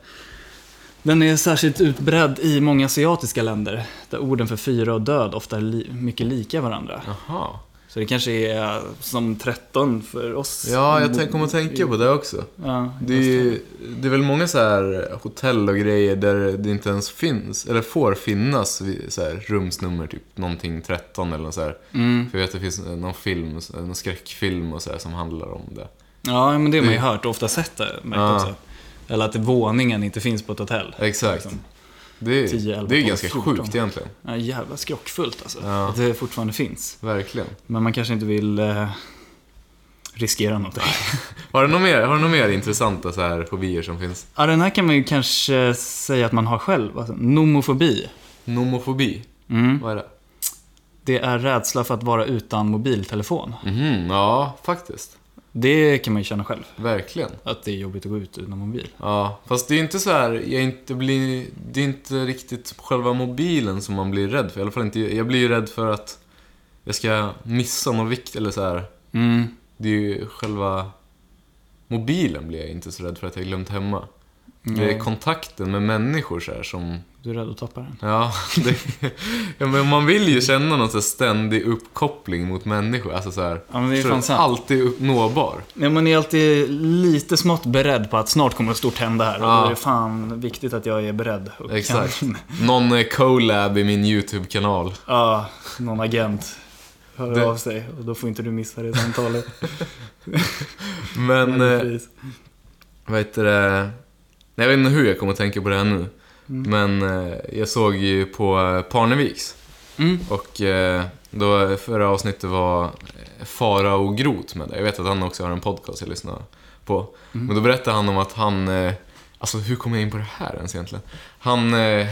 [SPEAKER 2] Den är särskilt utbredd i många asiatiska länder, där orden för fyra och död ofta är li- mycket lika varandra.
[SPEAKER 1] Jaha.
[SPEAKER 2] Så det kanske är eh, som 13 för oss.
[SPEAKER 1] Ja, jag tän- kommer att tänka på det också.
[SPEAKER 2] Ja,
[SPEAKER 1] Det är, ju, det är väl många så här hotell och grejer där det inte ens finns, eller får finnas, vid så här rumsnummer typ någonting 13 eller något så här.
[SPEAKER 2] mm.
[SPEAKER 1] För jag vet att det finns någon film, någon skräckfilm och så här som handlar om det.
[SPEAKER 2] ja, men det har man ju hört och ofta sett det. Märkt
[SPEAKER 1] Ja.
[SPEAKER 2] också. Eller att våningen inte finns på ett hotell.
[SPEAKER 1] Exakt.
[SPEAKER 2] Liksom.
[SPEAKER 1] Det är,
[SPEAKER 2] 10, 11,
[SPEAKER 1] det är
[SPEAKER 2] 12,
[SPEAKER 1] ganska
[SPEAKER 2] 14.
[SPEAKER 1] sjukt egentligen.
[SPEAKER 2] Ja, jävla skrockfullt alltså.
[SPEAKER 1] Ja.
[SPEAKER 2] Att det fortfarande finns.
[SPEAKER 1] Verkligen.
[SPEAKER 2] Men man kanske inte vill eh, riskera någonting.
[SPEAKER 1] Har du några mer, har du något mer intressanta så här fobier som finns?
[SPEAKER 2] Ja, den här kan man ju kanske säga att man har själv. Alltså, nomofobi.
[SPEAKER 1] Nomofobi,
[SPEAKER 2] Mm.
[SPEAKER 1] vad är det?
[SPEAKER 2] Det är rädsla för att vara utan mobiltelefon.
[SPEAKER 1] Mhm, ja, faktiskt.
[SPEAKER 2] Det kan man ju känna själv.
[SPEAKER 1] Verkligen.
[SPEAKER 2] Att det är jobbigt att gå ut utan mobil.
[SPEAKER 1] Ja, fast det är inte så här, jag inte blir, det är inte riktigt själva mobilen som man blir rädd för. I alla fall inte, jag blir ju rädd för att jag ska missa något viktigt, eller så här.
[SPEAKER 2] Mm.
[SPEAKER 1] Det är ju själva mobilen blir jag inte så rädd för att jag glömt hemma. Det är kontakten med människor så här som,
[SPEAKER 2] Du är rädd att tappa den.
[SPEAKER 1] ja, det, ja men man vill ju känna någon så här ständig uppkoppling mot människor. Alltså så här,
[SPEAKER 2] Ja, men det är
[SPEAKER 1] förstår du?
[SPEAKER 2] fan sant.
[SPEAKER 1] alltid upp- nåbar.
[SPEAKER 2] Men man är alltid lite smått beredd på att snart kommer något stort hända här.
[SPEAKER 1] Ja.
[SPEAKER 2] Och det är fan viktigt att jag är beredd. Och
[SPEAKER 1] Exakt.
[SPEAKER 2] Kan,
[SPEAKER 1] Någon eh, collab i min YouTube-kanal.
[SPEAKER 2] ja, någon agent hör
[SPEAKER 1] Det-
[SPEAKER 2] av sig och då får inte du missa det samtalet.
[SPEAKER 1] Men, eh,
[SPEAKER 2] Precis.
[SPEAKER 1] vad heter det? Nej, Jag vet inte hur jag kommer att tänka på det här nu.
[SPEAKER 2] Mm.
[SPEAKER 1] Men eh, jag såg ju på eh, Parneviks.
[SPEAKER 2] Mm.
[SPEAKER 1] Och eh, då förra avsnittet var eh, Farao Groth med där. Jag vet att han också har en podcast jag lyssnar på. Men då berättade han om att han... Eh, alltså hur kom jag in på det här ens egentligen? Han, eh,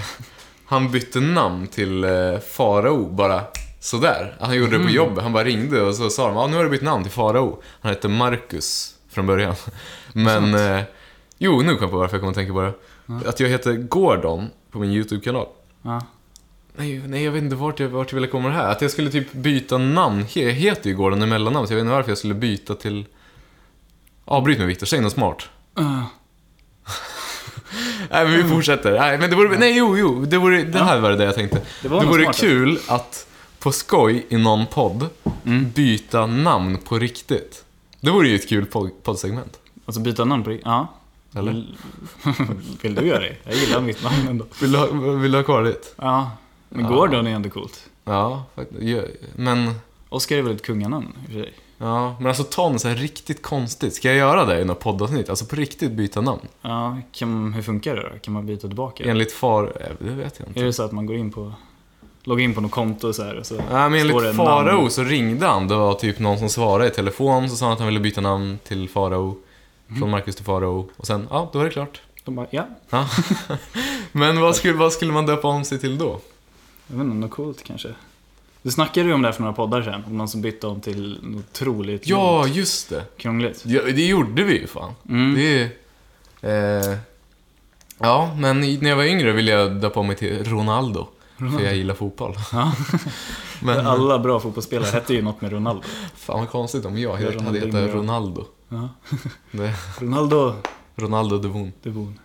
[SPEAKER 1] han bytte namn till eh, Farao bara sådär. Han gjorde det på jobbet. Han bara ringde och så sa de ah, nu har du bytt namn till Farao. Han hette Marcus från början. Men... Eh, jo, nu kom jag på varför jag kommer att tänka på det. Att jag heter Gordon på min YouTube-kanal.
[SPEAKER 2] Ja.
[SPEAKER 1] Nej, nej, jag vet inte vart jag, vart jag ville komma med det här. Att jag skulle typ byta namn. He- Jag heter ju Gordon i mellannamn, så jag vet inte varför jag skulle byta till... Avbryt mig Viktor, säg något smart.
[SPEAKER 2] Ah.
[SPEAKER 1] Nej, men vi
[SPEAKER 2] Mm.
[SPEAKER 1] fortsätter. Nej, men det vore... Nej, jo, jo. Det, vore, det här var det jag tänkte.
[SPEAKER 2] Det
[SPEAKER 1] Det,
[SPEAKER 2] var något
[SPEAKER 1] vore
[SPEAKER 2] smart.
[SPEAKER 1] kul att på skoj i någon podd
[SPEAKER 2] Mm.
[SPEAKER 1] byta namn på riktigt. Det vore ju ett kul pod- poddsegment.
[SPEAKER 2] Alltså byta namn på Ja. Mm.
[SPEAKER 1] Eller?
[SPEAKER 2] Vill du göra det? Jag gillar mitt namn ändå.
[SPEAKER 1] Vill du ha, vill du ha kvar ditt?
[SPEAKER 2] Ja. Men
[SPEAKER 1] Ja.
[SPEAKER 2] Gordon är ändå coolt.
[SPEAKER 1] Ja, faktiskt. Ja, Men...
[SPEAKER 2] Oscar är väl ett kunganamn i och för sig.
[SPEAKER 1] Ja, men alltså ta något så här riktigt konstigt. Ska jag göra det i något poddavsnitt? Alltså på riktigt byta namn?
[SPEAKER 2] Ja, kan, hur funkar det då? Kan man byta tillbaka?
[SPEAKER 1] Enligt far... eh, Det vet jag inte.
[SPEAKER 2] Är det så att man går in på... Loggar in på något konto så här och så...
[SPEAKER 1] Nej, men
[SPEAKER 2] Står det
[SPEAKER 1] enligt
[SPEAKER 2] namn?
[SPEAKER 1] Farao så ringde han. Det var typ någon som svarade i telefon. Så sa han att han ville byta namn till Farao.
[SPEAKER 2] Mm.
[SPEAKER 1] Från Marcus till Farao. Och sen, ja, då är det klart.
[SPEAKER 2] De bara, ja.
[SPEAKER 1] Ja. men vad skulle, vad skulle man döpa om sig till då?
[SPEAKER 2] Jag vet inte, något coolt kanske. Du snackade ju om det här för några poddar sedan. Om någon som bytte om till något otroligt
[SPEAKER 1] Ja, just det.
[SPEAKER 2] krångligt.
[SPEAKER 1] Ja, det gjorde vi ju fan.
[SPEAKER 2] Mm.
[SPEAKER 1] Det är... Eh, ja, men i- när jag var yngre ville jag döpa om mig till Ronaldo. För jag gillar fotboll.
[SPEAKER 2] Ja.
[SPEAKER 1] men
[SPEAKER 2] Alla bra fotbollsspelare hette ju något med Ronaldo.
[SPEAKER 1] fan vad konstigt om jag hade
[SPEAKER 2] Ronaldinho,
[SPEAKER 1] hetat
[SPEAKER 2] ja.
[SPEAKER 1] Ronaldo.
[SPEAKER 2] Ja.
[SPEAKER 1] Det,
[SPEAKER 2] Ronaldo
[SPEAKER 1] Ronaldo Devon.
[SPEAKER 2] Devon.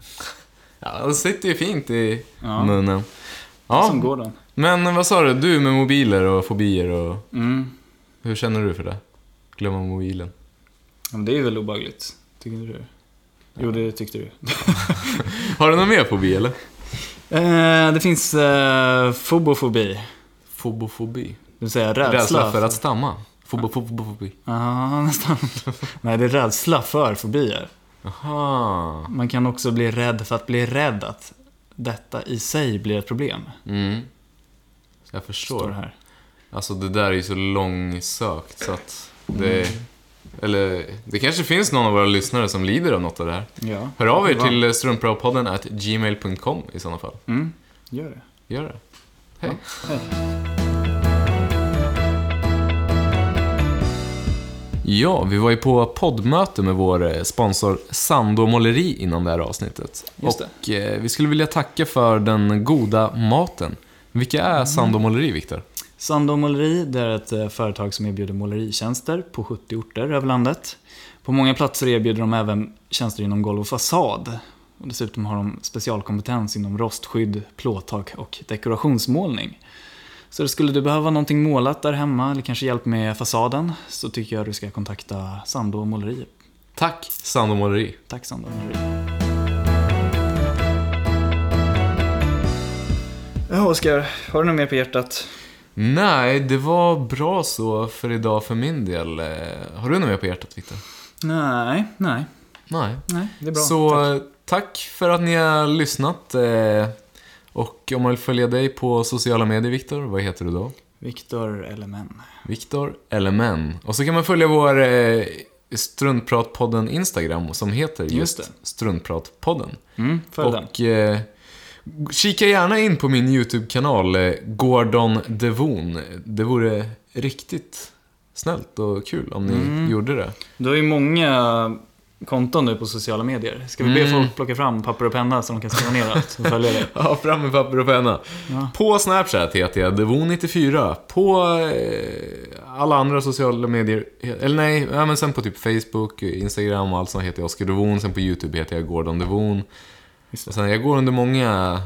[SPEAKER 1] Ja, han sitter ju fint i
[SPEAKER 2] Ja.
[SPEAKER 1] munnen.
[SPEAKER 2] Som
[SPEAKER 1] eh, Ja,
[SPEAKER 2] Gordon.
[SPEAKER 1] men eh, vad sa du? Du med mobiler och fobier och...
[SPEAKER 2] Mm.
[SPEAKER 1] Hur känner du för det? Glömma mobilen.
[SPEAKER 2] Ja, Men det är väl obehagligt? Tycker inte du? Jo, det tyckte du.
[SPEAKER 1] Har du någon mer fobi eller?
[SPEAKER 2] Eh, det finns eh, fobofobi. Det
[SPEAKER 1] Fobofobi.
[SPEAKER 2] vill säga rädsla.
[SPEAKER 1] Rädsla, för att stamma. Fobofobofobi.
[SPEAKER 2] Ja, nästan. Nej, det är rädsla för fobier.
[SPEAKER 1] Aha.
[SPEAKER 2] Man kan också bli rädd för att bli rädd att detta i sig blir ett problem.
[SPEAKER 1] Mm. Jag
[SPEAKER 2] Står det
[SPEAKER 1] förstår.
[SPEAKER 2] här.
[SPEAKER 1] Alltså det där är ju så långsökt så att det... Eller det kanske finns någon av våra lyssnare som lider av något av det här.
[SPEAKER 2] Ja.
[SPEAKER 1] Hör av er
[SPEAKER 2] Det var-
[SPEAKER 1] till struntpratpodden at gmail.com i sådana fall.
[SPEAKER 2] Mm, gör det.
[SPEAKER 1] Gör det. Hej.
[SPEAKER 2] hej.
[SPEAKER 1] Ja, vi var ju på poddmöte med vår eh, sponsor Sando Måleri innan det här avsnittet.
[SPEAKER 2] Just
[SPEAKER 1] Och eh, vi skulle vilja tacka för den goda maten. Vilka är Sando Måleri, Viktor?
[SPEAKER 2] Sandå Måleri, det är ett eh, företag som erbjuder måleritjänster på 70 orter över landet. På många platser erbjuder de även tjänster inom golv och fasad. Och dessutom har de specialkompetens inom rostskydd, plåttak och dekorationsmålning. Så det skulle du behöva någonting målat där hemma eller kanske hjälp med fasaden så tycker jag du ska kontakta Sandå Måleri.
[SPEAKER 1] Tack, Sando Måleri.
[SPEAKER 2] Tack Sandå Måleri. Ja, Oskar, har du något mer på hjärtat?
[SPEAKER 1] Nej, det var bra så för idag för min del. Eh, Har du något mer på hjärtat, Viktor?
[SPEAKER 2] Nej, nej.
[SPEAKER 1] Nej.
[SPEAKER 2] Nej, det är bra.
[SPEAKER 1] så tack. tack för att ni har lyssnat. eh, Och om man vill följa dig på sociala medier, Viktor, vad heter du då?
[SPEAKER 2] Viktor Elemen.
[SPEAKER 1] Viktor Elemen. Och så kan man följa vår eh, Struntpratpodden Instagram som heter just,
[SPEAKER 2] Just det.
[SPEAKER 1] Struntpratpodden.
[SPEAKER 2] Mm, följ den.
[SPEAKER 1] Och eh, Kika gärna in på min YouTube-kanal, eh, Gordon Devon. Det vore riktigt snällt och kul om ni
[SPEAKER 2] Mm.
[SPEAKER 1] gjorde det.
[SPEAKER 2] Du har ju många konton nu på sociala medier. Ska vi be
[SPEAKER 1] Mm.
[SPEAKER 2] folk plocka fram papper och penna så de kan skriva ner allt och följa det?
[SPEAKER 1] Ja, fram med papper och penna.
[SPEAKER 2] Ja.
[SPEAKER 1] På Snapchat heter jag Devon94. På eh, alla andra sociala medier, eller nej, ja, men sen på typ Facebook, Instagram och allt sånt heter jag Oskar Devon. Sen på YouTube heter jag Gordon Devon.
[SPEAKER 2] Just det.
[SPEAKER 1] Och sen, jag går under många...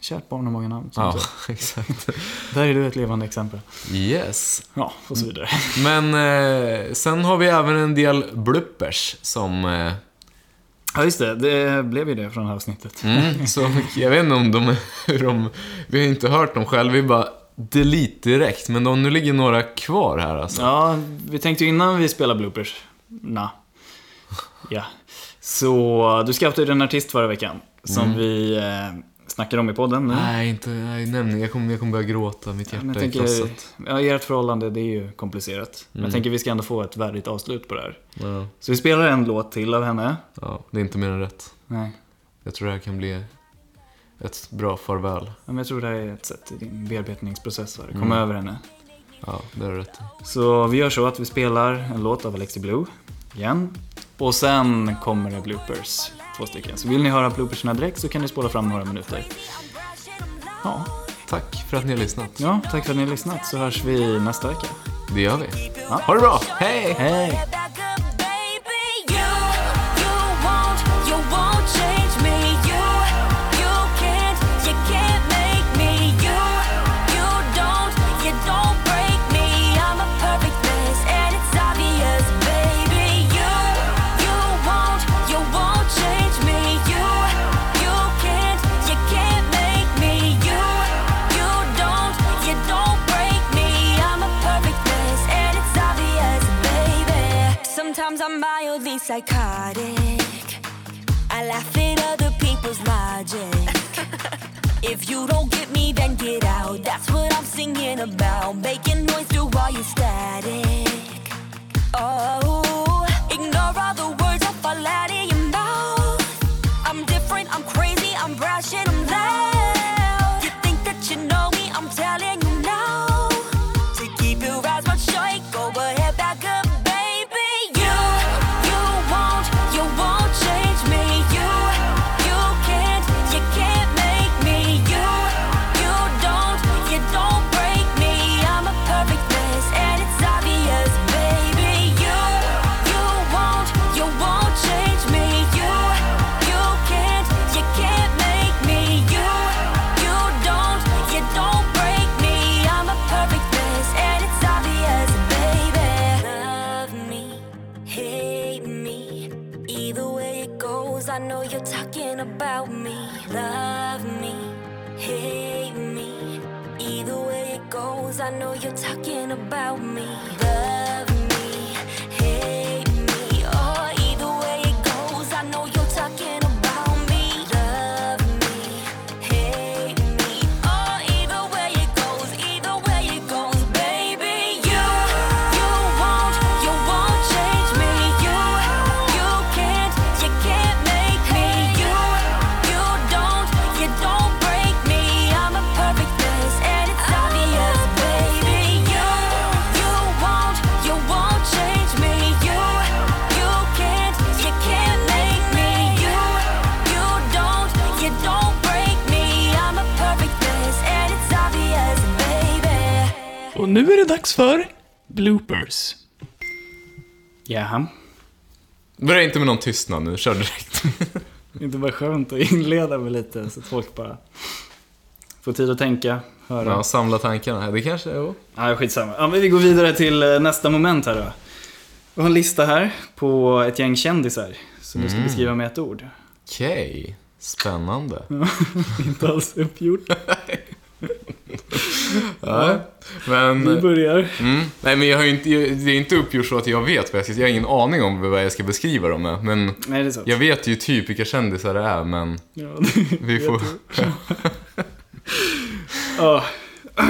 [SPEAKER 2] Kärt barn har många namn. som
[SPEAKER 1] Ja,
[SPEAKER 2] sagt.
[SPEAKER 1] exakt.
[SPEAKER 2] Där är du ett levande exempel.
[SPEAKER 1] Yes.
[SPEAKER 2] Ja, och
[SPEAKER 1] Mm.
[SPEAKER 2] så vidare.
[SPEAKER 1] Men eh, sen har vi även en del bloopers som... Eh,
[SPEAKER 2] Ja, just det. Det blev ju det från det här avsnittet.
[SPEAKER 1] mm, så jag vet inte om de, hur de... Vi har inte hört dem själv, vi bara delete direkt. Men de, nu ligger några kvar här alltså.
[SPEAKER 2] Ja, vi tänkte ju innan vi spelar bloopers. Na. Ja. Så du scoutade ju en artist förra veckan. Som vi eh, snackade om i podden nu.
[SPEAKER 1] Mm. Nej, inte... Nej, nämn jag kommer, jag kommer börja gråta. Mitt hjärta
[SPEAKER 2] Men jag
[SPEAKER 1] är
[SPEAKER 2] tänker,
[SPEAKER 1] krossat.
[SPEAKER 2] ja, ert förhållande det är ju komplicerat. Men jag tänker vi ska ändå få ett värdigt avslut på det här.
[SPEAKER 1] Ja,
[SPEAKER 2] Så vi spelar en låt till av henne.
[SPEAKER 1] ja, det är inte mer än rätt.
[SPEAKER 2] Nej,
[SPEAKER 1] Jag tror det här kan bli ett bra farväl.
[SPEAKER 2] Ja, men jag tror det här är ett sätt i din bearbetningsprocess. va? Kom över henne.
[SPEAKER 1] Ja, det har du rätt i.
[SPEAKER 2] Så vi gör så att vi spelar en låt av Alexi Blue igen. Och sen kommer det bloopers. Två stycken. Så vill ni höra blooperserna direkt så kan ni spola fram några minuter. Ja,
[SPEAKER 1] Tack för att ni har lyssnat.
[SPEAKER 2] ja tack för att ni har lyssnat så hörs vi nästa vecka.
[SPEAKER 1] Det gör vi.
[SPEAKER 2] Ja.
[SPEAKER 1] Ha det bra! Hej!
[SPEAKER 2] Hej!
[SPEAKER 3] Yeah, that good baby. You, you won't, you won't change me. You, you can't, you can't make me. You, you don't, you don't break me. I'm a perfect mess, and it's obvious, baby. You, you won't, you won't change me. You, you can't, you can't make me. You, you don't, you don't break me. I'm a perfect mess, and it's obvious, baby. Sometimes I'm mildly psychotic. I laugh at other people's logic. If you don't get me, then get out. That's what I'm singing about. Making noise through all your static. Oh, ignore all the words that fall out of your mouth. I'm different, I'm crazy, I'm brash and I'm loud. You think that you know me, I'm telling you now. To keep your eyes wide shut, go ahead, back up, baby. You, you won't, you won't change me. You, you can't, you can't make me. You, you don't, you don't break me. I'm a perfect mess and it's obvious, baby. You, you won't, you won't change me. You, you can't, you can't make me. You, you don't, you don't break me. I'm a perfect mess and it's obvious, baby. Love me, hate me. Either way it goes, I know you're talking about me. Love me, hate me. Either way it goes, I know you're talking about me. Love me, hate me. Oh, either way it goes, I know you're talking about me. Love me, hate me. Oh, either way it goes, either way it goes, baby. You, you won't, you won't change me. You, you can't, you can't make me. You, you don't, you don't break me. I'm a perfect mess, and it's obvious, baby. You, you won't, you won't change me. You, you can't, you can't make me. You, you don't, you don't break me. I'm a perfect mess, and it's obvious, baby.
[SPEAKER 4] Och nu är det dags för bloopers.
[SPEAKER 2] Jaha.
[SPEAKER 1] Börja inte med någon tystnad nu, kör direkt.
[SPEAKER 2] Inte bara skönt att inleda med lite så att folk bara får tid att tänka, höra.
[SPEAKER 1] Ja, samla tankarna. Det kanske... Jo.
[SPEAKER 2] Ja, skitsamma. Ja, men vi går vidare till eh, nästa moment här då. Vi har en lista här på ett gäng kändisar som du ska beskriva med ett ord.
[SPEAKER 1] Okej. Spännande.
[SPEAKER 2] Inte alls uppgjort.
[SPEAKER 1] Ja. Men...
[SPEAKER 2] Vi börjar.
[SPEAKER 1] Mm. Nej, men jag har ju inte, jag, det är inte uppgjort så att jag vet vad jag ska Jag har ingen aning om vad jag ska beskriva dem med. Men
[SPEAKER 2] Nej, det är sant.
[SPEAKER 1] jag vet ju typ vilka kändisar det är, men
[SPEAKER 2] Ja.
[SPEAKER 1] vi får...
[SPEAKER 2] Ja.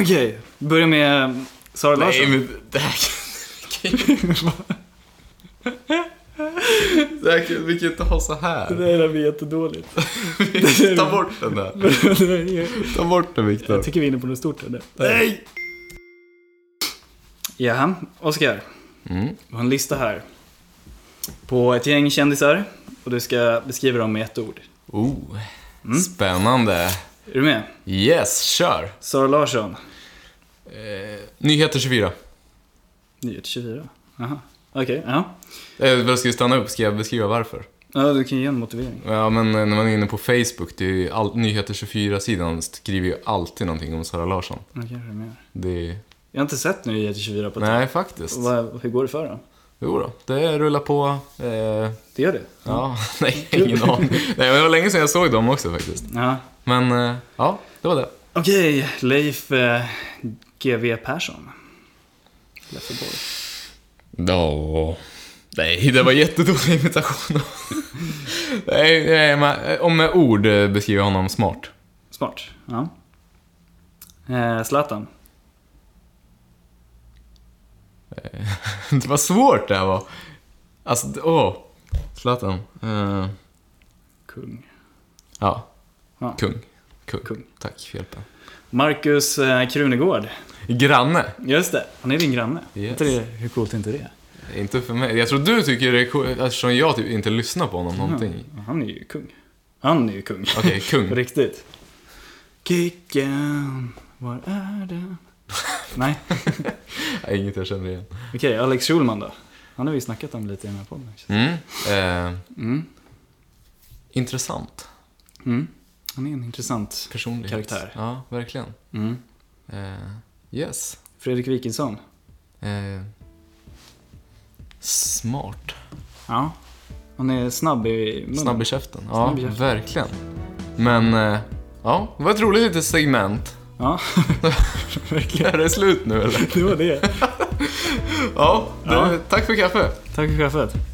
[SPEAKER 2] Okej, börja med Sara Larsson.
[SPEAKER 1] Nej, men det här kan... Säkert, vi kan inte ha så här.
[SPEAKER 2] Det där blir jättedåligt.
[SPEAKER 1] Ta bort den där. Ta bort den Viktor.
[SPEAKER 2] Jag tycker vi är inne på något stort här nu.
[SPEAKER 1] Nej!
[SPEAKER 2] Ja, Oskar.
[SPEAKER 1] Mm.
[SPEAKER 2] Vi har en lista här. På ett gäng kändisar. Och du ska beskriva dem med ett ord.
[SPEAKER 1] Oh, spännande.
[SPEAKER 2] Är du med?
[SPEAKER 1] Yes, kör.
[SPEAKER 2] Sara Larsson.
[SPEAKER 1] Nyheter 24.
[SPEAKER 2] Nyhet 24. Aha. Okej, ja.
[SPEAKER 1] Eh, vad ska vi stanna upp? Ska jag beskriva varför?
[SPEAKER 2] Ja, du kan ju ge en motivering.
[SPEAKER 1] Ja, men eh, när man är inne på Facebook, det är ju all, Nyheter 24-sidan skriver ju alltid någonting om Sara Larsson.
[SPEAKER 2] Ja, kanske mer.
[SPEAKER 1] Det är...
[SPEAKER 2] Jag har inte sett Nyhet 24 på ett
[SPEAKER 1] Nej, faktiskt.
[SPEAKER 2] tag. Vad- Hur går det för dem?
[SPEAKER 1] Jo då, det rullar på. Eh,
[SPEAKER 2] Det gör det?
[SPEAKER 1] ja, nej, ingen aning. Nej, men det var länge sedan jag såg dem också faktiskt.
[SPEAKER 2] Ja.
[SPEAKER 1] Men eh, ja, det var det.
[SPEAKER 2] Okej, Leif eh, GW Persson. Lefferborg.
[SPEAKER 1] Ja. Nej, det var jättedålig imitation. nej, nej, men om med ord eh, beskriver jag honom smart.
[SPEAKER 2] Smart. Ja. Eh, Zlatan.
[SPEAKER 1] det var svårt det här var. Alltså, d- åh. Zlatan. Eh,
[SPEAKER 2] Kung.
[SPEAKER 1] ja.
[SPEAKER 2] Ja.
[SPEAKER 1] Kung. Kung.
[SPEAKER 2] Kung.
[SPEAKER 1] Tack för hjälpen.
[SPEAKER 2] Marcus eh, Krunegård.
[SPEAKER 1] Granne.
[SPEAKER 2] Just det, han är din granne.
[SPEAKER 1] Yes.
[SPEAKER 2] Inte det, hur coolt är inte det?
[SPEAKER 1] Inte för mig. Jag tror du tycker det är coolt eftersom jag typ inte lyssnar på honom någonting.
[SPEAKER 2] Ja, Han är ju kung. Han är ju kung.
[SPEAKER 1] Okej,
[SPEAKER 2] På
[SPEAKER 1] kung.
[SPEAKER 2] riktigt. Kicken, var är den? Nej,
[SPEAKER 1] Nej, Inget jag känner igen.
[SPEAKER 2] okej. Alex Schulman då? Han har vi snackat om lite i den här podden.
[SPEAKER 1] Mm. Eh, Intressant
[SPEAKER 2] Mm. Han är en intressant
[SPEAKER 1] personlighet.
[SPEAKER 2] Karaktär.
[SPEAKER 1] Ja, verkligen.
[SPEAKER 2] Mm.
[SPEAKER 1] Eh, yes.
[SPEAKER 2] Fredrik Wikingsson.
[SPEAKER 1] Eh, smart.
[SPEAKER 2] Ja. Han är snabb i munnen.
[SPEAKER 1] Snabb i käften. Ja,
[SPEAKER 2] Snabb i käften.
[SPEAKER 1] verkligen. Men, eh, ja, det var ett roligt litet segment.
[SPEAKER 2] Ja, verkligen.
[SPEAKER 1] Är det slut nu eller?
[SPEAKER 2] Det var det.
[SPEAKER 1] Ja, det,
[SPEAKER 2] Ja.
[SPEAKER 1] tack för kaffe.
[SPEAKER 2] Tack för kaffet.